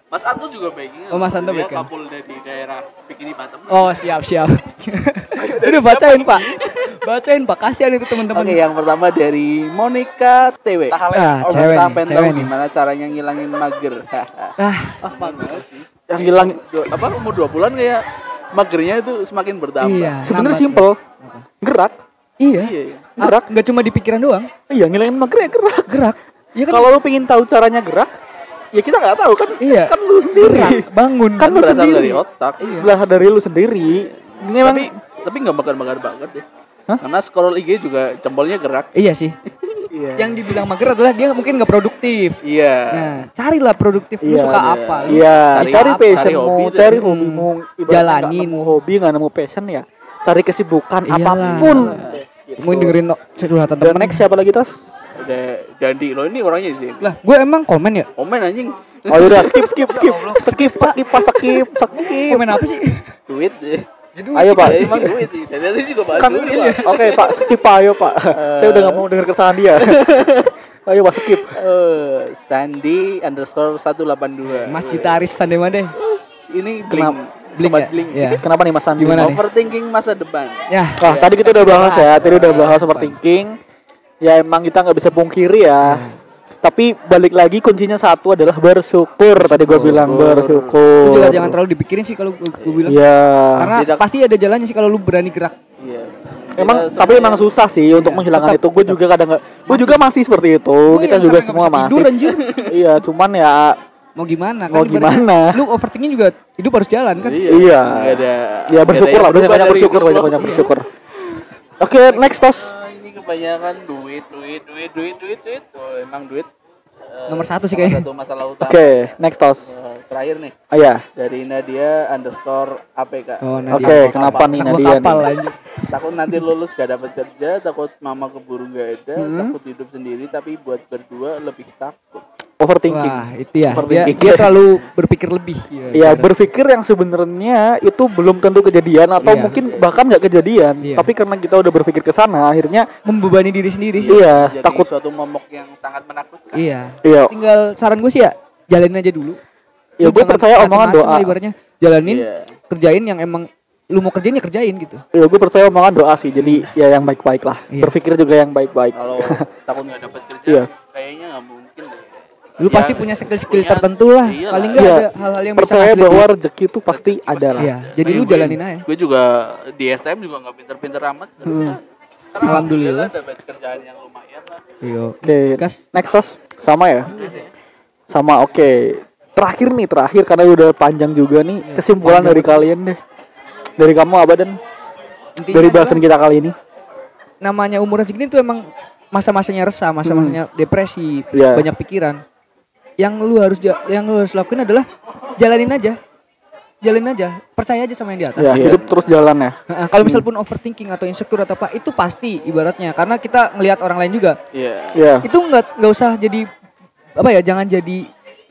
A: Mas Anto juga backing
C: Oh, Mas Anto
A: Dia
C: backing.
A: kapul dari daerah Bikini Batam
C: Oh siap siap. Udah bacain pak. Bacain pak. Kasihan itu teman-teman.
A: Oke, ya. yang pertama dari Monica TW.
B: Nah,
C: Ah,
A: Oh,
C: cewek
A: kita
C: nih,
A: pengen
C: cewek
A: tahu
C: nih.
A: gimana caranya ngilangin mager.
C: Ah,
A: ah, mager sih.
B: yang hilang
A: Dua- apa umur 2 bulan kayak magernya itu semakin bertambah.
C: iya.
B: sebenarnya
C: nambah
B: simple
C: terus. Apa?
B: gerak
C: Iya.
A: Iya.
B: Gerak.
C: Nggak cuma di pikiran doang,
B: iya ngilangin mager ya gerak
C: gerak. Iya kan?
B: kalau lu pengen tahu caranya gerak ya kita nggak tahu kan
C: Iya.
B: kan lu
C: gerak,
B: sendiri
C: bangun.
B: Kan lu
A: Berasal
B: sendiri.
A: dari otak.
C: Iya,
B: belajar dari lu Iya. sendiri ini emang
A: Tapi tapi nggak bakar-bakar banget deh.
B: Hah?
A: Karena scroll IG juga jempolnya gerak.
C: Iya sih.
B: Iya.
C: Yang dibilang mager adalah dia mungkin nggak produktif.
A: Iya.
C: Nah, carilah produktif. Lu
B: Iya,
C: suka
A: iya.
C: apa? Lu
B: Iya,
A: Cari
B: cari
A: apa,
B: passion
A: cari
B: mau
A: hobi deh.
B: cari
C: Hmm.
B: hobi mau ibaratnya nggak
C: Jalanin.
B: nemu hobi nggak nemu passion ya, cari kesibukan
C: Iyalah.
B: apapun. Gitu.
C: Mau dengerin no- curhatan
B: Dan
C: temen
B: next siapa lagi tas?
A: Udah Dandi lo ini orangnya sih.
C: Lah, gue emang komen ya?
A: Komen anjing.
B: Oh udah skip skip skip skip skip pas skip skip.
C: Komen apa sih?
A: Duit.
B: Ayo pak.
A: Ya, emang duit sih. Dari tadi juga bahas
B: Kan
A: duit.
B: iya. Oke pak skip pak ayo pak. Saya udah nggak mau denger keresahan dia. ayo pak skip.
A: Eh, Sandi underscore 182
C: Mas gitaris Sandema deh.
A: Ini
B: Kenapa?
A: bling,
C: Blink
A: Sobat
C: ya?
A: bling.
C: Iya.
B: Kenapa nih Mas Sandi?
C: Gimana nih?
A: Overthinking masa depan
C: Ya,
B: Nah, tadi kita udah bahas ya, tadi udah bahas overthinking. Ya emang kita nggak bisa pungkiri
C: Iya.
B: ya. Tapi balik lagi kuncinya satu adalah bersyukur. Tadi gua bilang
C: lu
B: bersyukur.
C: juga jangan terlalu dipikirin sih kalau gue gue bilang.
B: Iya.
C: Karena
A: Tidak-
C: pasti ada jalannya sih kalau lu berani gerak.
A: Iya
B: Emang
A: Kita
B: tapi emang
A: sebenarnya-
B: susah sih untuk
C: ya, Iya,
B: menghilangkan
C: tetap,
B: itu. Gue juga kadang nggak, gue juga masih seperti itu.
C: Gue
B: kita
C: yang
B: juga
C: sampai nggak
B: semua
C: bisa
B: masih.
C: tidur, anjir.
B: iya, cuman ya
C: Mau gimana? Kan
B: Mau
C: ibaratnya
B: gimana?
C: Lu overthinking juga hidup harus jalan kan?
A: Iya,
B: Iya.
A: nggak ada
B: ya
C: iya,
B: bersyukur lah. Banyak banyak bersyukur, banyak banyak
A: banyak
B: bersyukur. Oke, next tos.
A: Ini kebanyakan duit, duit, duit, duit, duit, duit Oh, Emang duit eh,
C: Nomor satu sih
A: salah
C: kayaknya.
A: Satu masalah utama
B: Oke, next tos.
A: Eh, Terakhir nih
B: Ah, ya.
A: Dari Nadia underscore APK
C: Oh, Nadia.
B: Oke, kenapa nih
C: Anak gua
B: Nadia?
C: kapal
B: nih?
C: anjir.
A: Takut nanti lulus gak dapat kerja Takut mama keburu gak ada
B: Hmm.
A: Takut hidup sendiri Tapi buat berdua lebih takut
B: Overthinking.
C: Wah, itu ya. Dia,
B: Overthinking.
C: dia terlalu berpikir lebih. Iya.
B: Ya
C: bener.
B: berpikir yang sebenarnya itu belum tentu kejadian atau
C: Iya.
B: mungkin bahkan nggak kejadian.
C: Iya.
B: Tapi karena kita udah berpikir ke sana, akhirnya
C: membebani diri sendiri sih.
B: iya
A: Jadi
B: takut.
A: suatu momok yang sangat menakutkan
C: Iya.
B: Iya,
C: Tinggal saran gue sih ya, jalanin aja dulu.
B: ya
C: Lu
B: gue
C: jangan
B: percaya omongan
C: macem-macem
B: doa.
C: lah ibaratnya. Jalanin,
A: Iya.
C: kerjain yang emang lu mau kerjain ya kerjain gitu.
B: Ya gue percaya omongan doa sih. Jadi ya yang baik-baik lah.
C: Iya.
B: Berpikir juga yang baik-baik.
A: Kalau takut gak dapat kerja
B: Iya.
A: Kayaknya gak mungkin deh
C: Lu
A: Ya,
C: pasti punya skill-skill
A: punya-
C: tertentu lah.
A: iyalah.
C: Paling enggak
B: Iya.
C: ada hal-hal yang
B: Percaya
C: ngasih
B: bahwa rezeki itu pasti ada
C: lebih.
B: lah.
C: Iya, jadi lu
A: Kayak gue-
C: jalanin aja. Hmm.
A: Gue juga di STM juga nggak pinter-pinter amat. Sekarang
C: Alhamdulillah.
A: dapat kerjaan yang lumayan lah.
C: Iya.
B: Oke,
C: Gas.
B: next tos sama ya? Sama oke. Terakhir nih, terakhir karena udah panjang juga nih.
C: Iya.
B: Kesimpulan dari kalian deh. Dari kamu apa dan
C: Iya, Intinya
B: dari
C: adalah
B: bahasan kita kali ini?
C: namanya umur segini tuh emang masa-masanya resah, masa-masanya depresi,
B: Hmm. Iya.
C: banyak pikiran. Yang lu harus ja- yang lu harus lakuin adalah jalanin aja. Jalanin aja, percaya aja sama yang di atas.
B: Ya, hidup terus jalan ya.
C: Nah, kalau misal pun overthinking atau insecure atau apa itu pasti ibaratnya karena kita ngelihat orang lain juga
A: Iya.
B: Iya.
C: itu nggak nggak usah jadi apa ya jangan jadi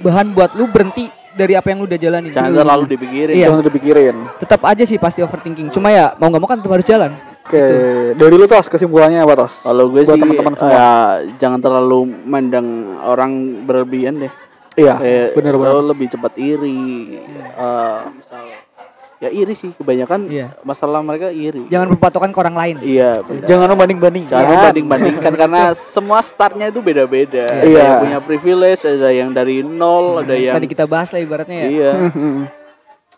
C: bahan buat lu berhenti dari apa yang lu udah jalani
A: Jangan terlalu dipikirin.
C: Hmm. Iya.
B: Jangan dipikirin.
C: tetap aja sih pasti overthinking cuma ya mau nggak mau kan tetap harus jalan
B: Oke, dari lu tos kesimpulannya apa tos?
A: Kalau gue sih
B: Buat teman-teman semua.
A: ya, jangan terlalu mandang orang berlebihan deh.
B: Iya,
C: Ya,
A: Kayak
B: bener
A: lo
B: banget.
A: lebih cepat iri.
C: Hmm.
A: Eh, misal ya iri sih kebanyakan
C: Iya. Ya.
A: masalah mereka iri.
C: jangan berpatokan ke orang lain
A: Iya. benar.
B: Jangan Iya. membanding-bandingan.
A: Jangan
C: Ya.
A: banding-bandingkan karena semua startnya itu beda-beda. Ada
B: Iya.
A: yang punya privilege, ada yang dari nol, ada yang
C: Hmm. tadi kita bahas lah ibaratnya ya
A: iya
B: Mhm.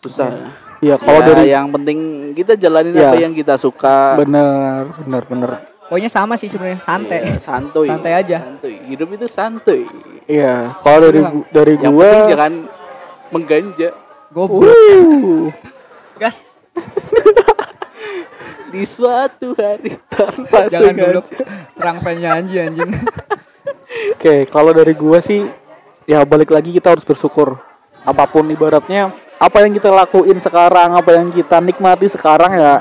A: susah.
B: Iya, kalau
A: Ya,
B: dari
A: yang penting kita jalanin
B: Ya.
A: apa yang kita suka.
B: bener, bener, bener.
C: pokoknya sama sih sebenarnya santai
A: Ya, santuy.
C: Santai aja.
A: Santuy. Hidup itu santuy.
B: Iya, kalau dari gu- dari
A: Yang
B: gua
A: penting jangan mengganja.
C: goblok
B: Uh,
C: gas
A: Di suatu hari
B: tanpa
C: jangan
B: sengaja.
C: goblok serang fansnya anjing anjing
B: Oke, kalau dari gua sih ya balik lagi kita harus bersyukur. Apapun ibaratnya, apa yang kita lakuin sekarang, apa yang kita nikmati sekarang ya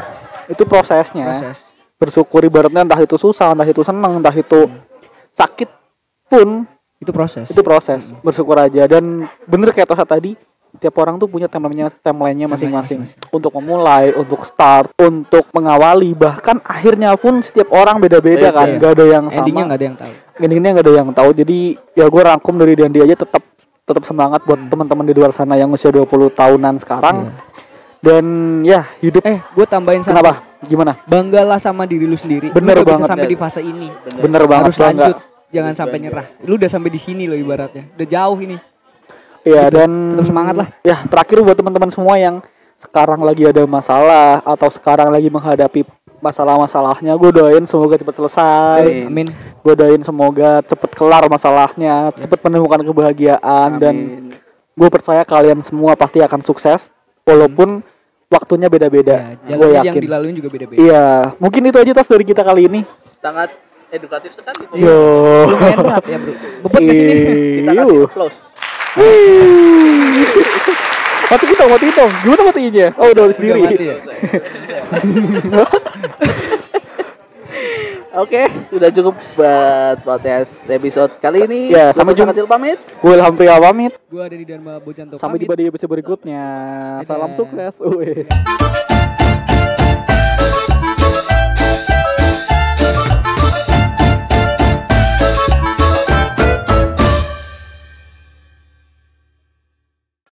B: itu prosesnya.
C: proses
B: Bersyukur ibaratnya entah itu susah, entah itu senang, entah itu
C: Hmm.
B: sakit pun
C: itu proses
B: itu proses.
C: Hmm.
B: Bersyukur aja dan bener kayak Tosa tadi, tiap orang tuh punya timeline-nya timeline-nya masing-masing untuk memulai, untuk start, untuk mengawali, bahkan akhirnya pun setiap orang beda-beda kan,
C: Beda.
B: gak ada yang sama
C: endingnya nggak ada yang tahu
B: endingnya nggak ada yang tahu jadi ya gue rangkum dari Dandi aja tetap tetap semangat buat
C: Hmm.
B: teman-teman di luar sana yang usia 20 tahunan sekarang dan ya hidup
C: eh gue tambahin satu
B: kenapa gimana
C: banggalah sama diri lu sendiri.
B: Bener
C: lu udah
B: banget,
C: bisa sampai
A: Dad.
C: di fase ini.
B: bener banget
C: Harus
B: bangga.
C: lanjut. Jangan
A: Harus
C: sampai
A: bangga.
C: nyerah. Lu udah sampai di sini loh ibaratnya. Udah jauh ini.
B: ya
C: Tetap-
B: dan
C: Gitu. tetap semangat lah.
B: ya terakhir buat teman-teman semua yang sekarang lagi ada masalah atau sekarang lagi menghadapi masalah-masalahnya gue doain semoga cepat selesai
A: Amin.
C: Amin.
B: gue doain semoga cepet kelar masalahnya cepet menemukan kebahagiaan dan
A: Amin.
B: gue percaya kalian semua pasti akan sukses walaupun waktunya beda-beda
C: Hmm. Ya,
B: gue
C: jalannya yang
B: yakin
C: dilalui juga beda-beda.
B: iya mungkin itu aja tas dari kita kali ini
A: sangat edukatif sekali Bro.
C: Iya.
B: yo
C: Lumayan berat ya, Bro. Beban
B: Iya.
C: ke sini.
A: kita kasih
B: Iyo.
A: applause
B: Wih. mati kita mati kita gimana matinya oh udah sendiri
C: mati ya?
A: Oke, sudah cukup buat podcast episode kali ini.
B: Ya, sampai
A: Lepas
B: jumpa.
A: kecil pamit.
B: gue Ilham Pria pamit
C: Gua ada di Dharma Bojanto.
B: sampai
C: pamit.
B: jumpa di episode berikutnya salam
C: Dadah.
B: sukses Wih.
A: Dadah.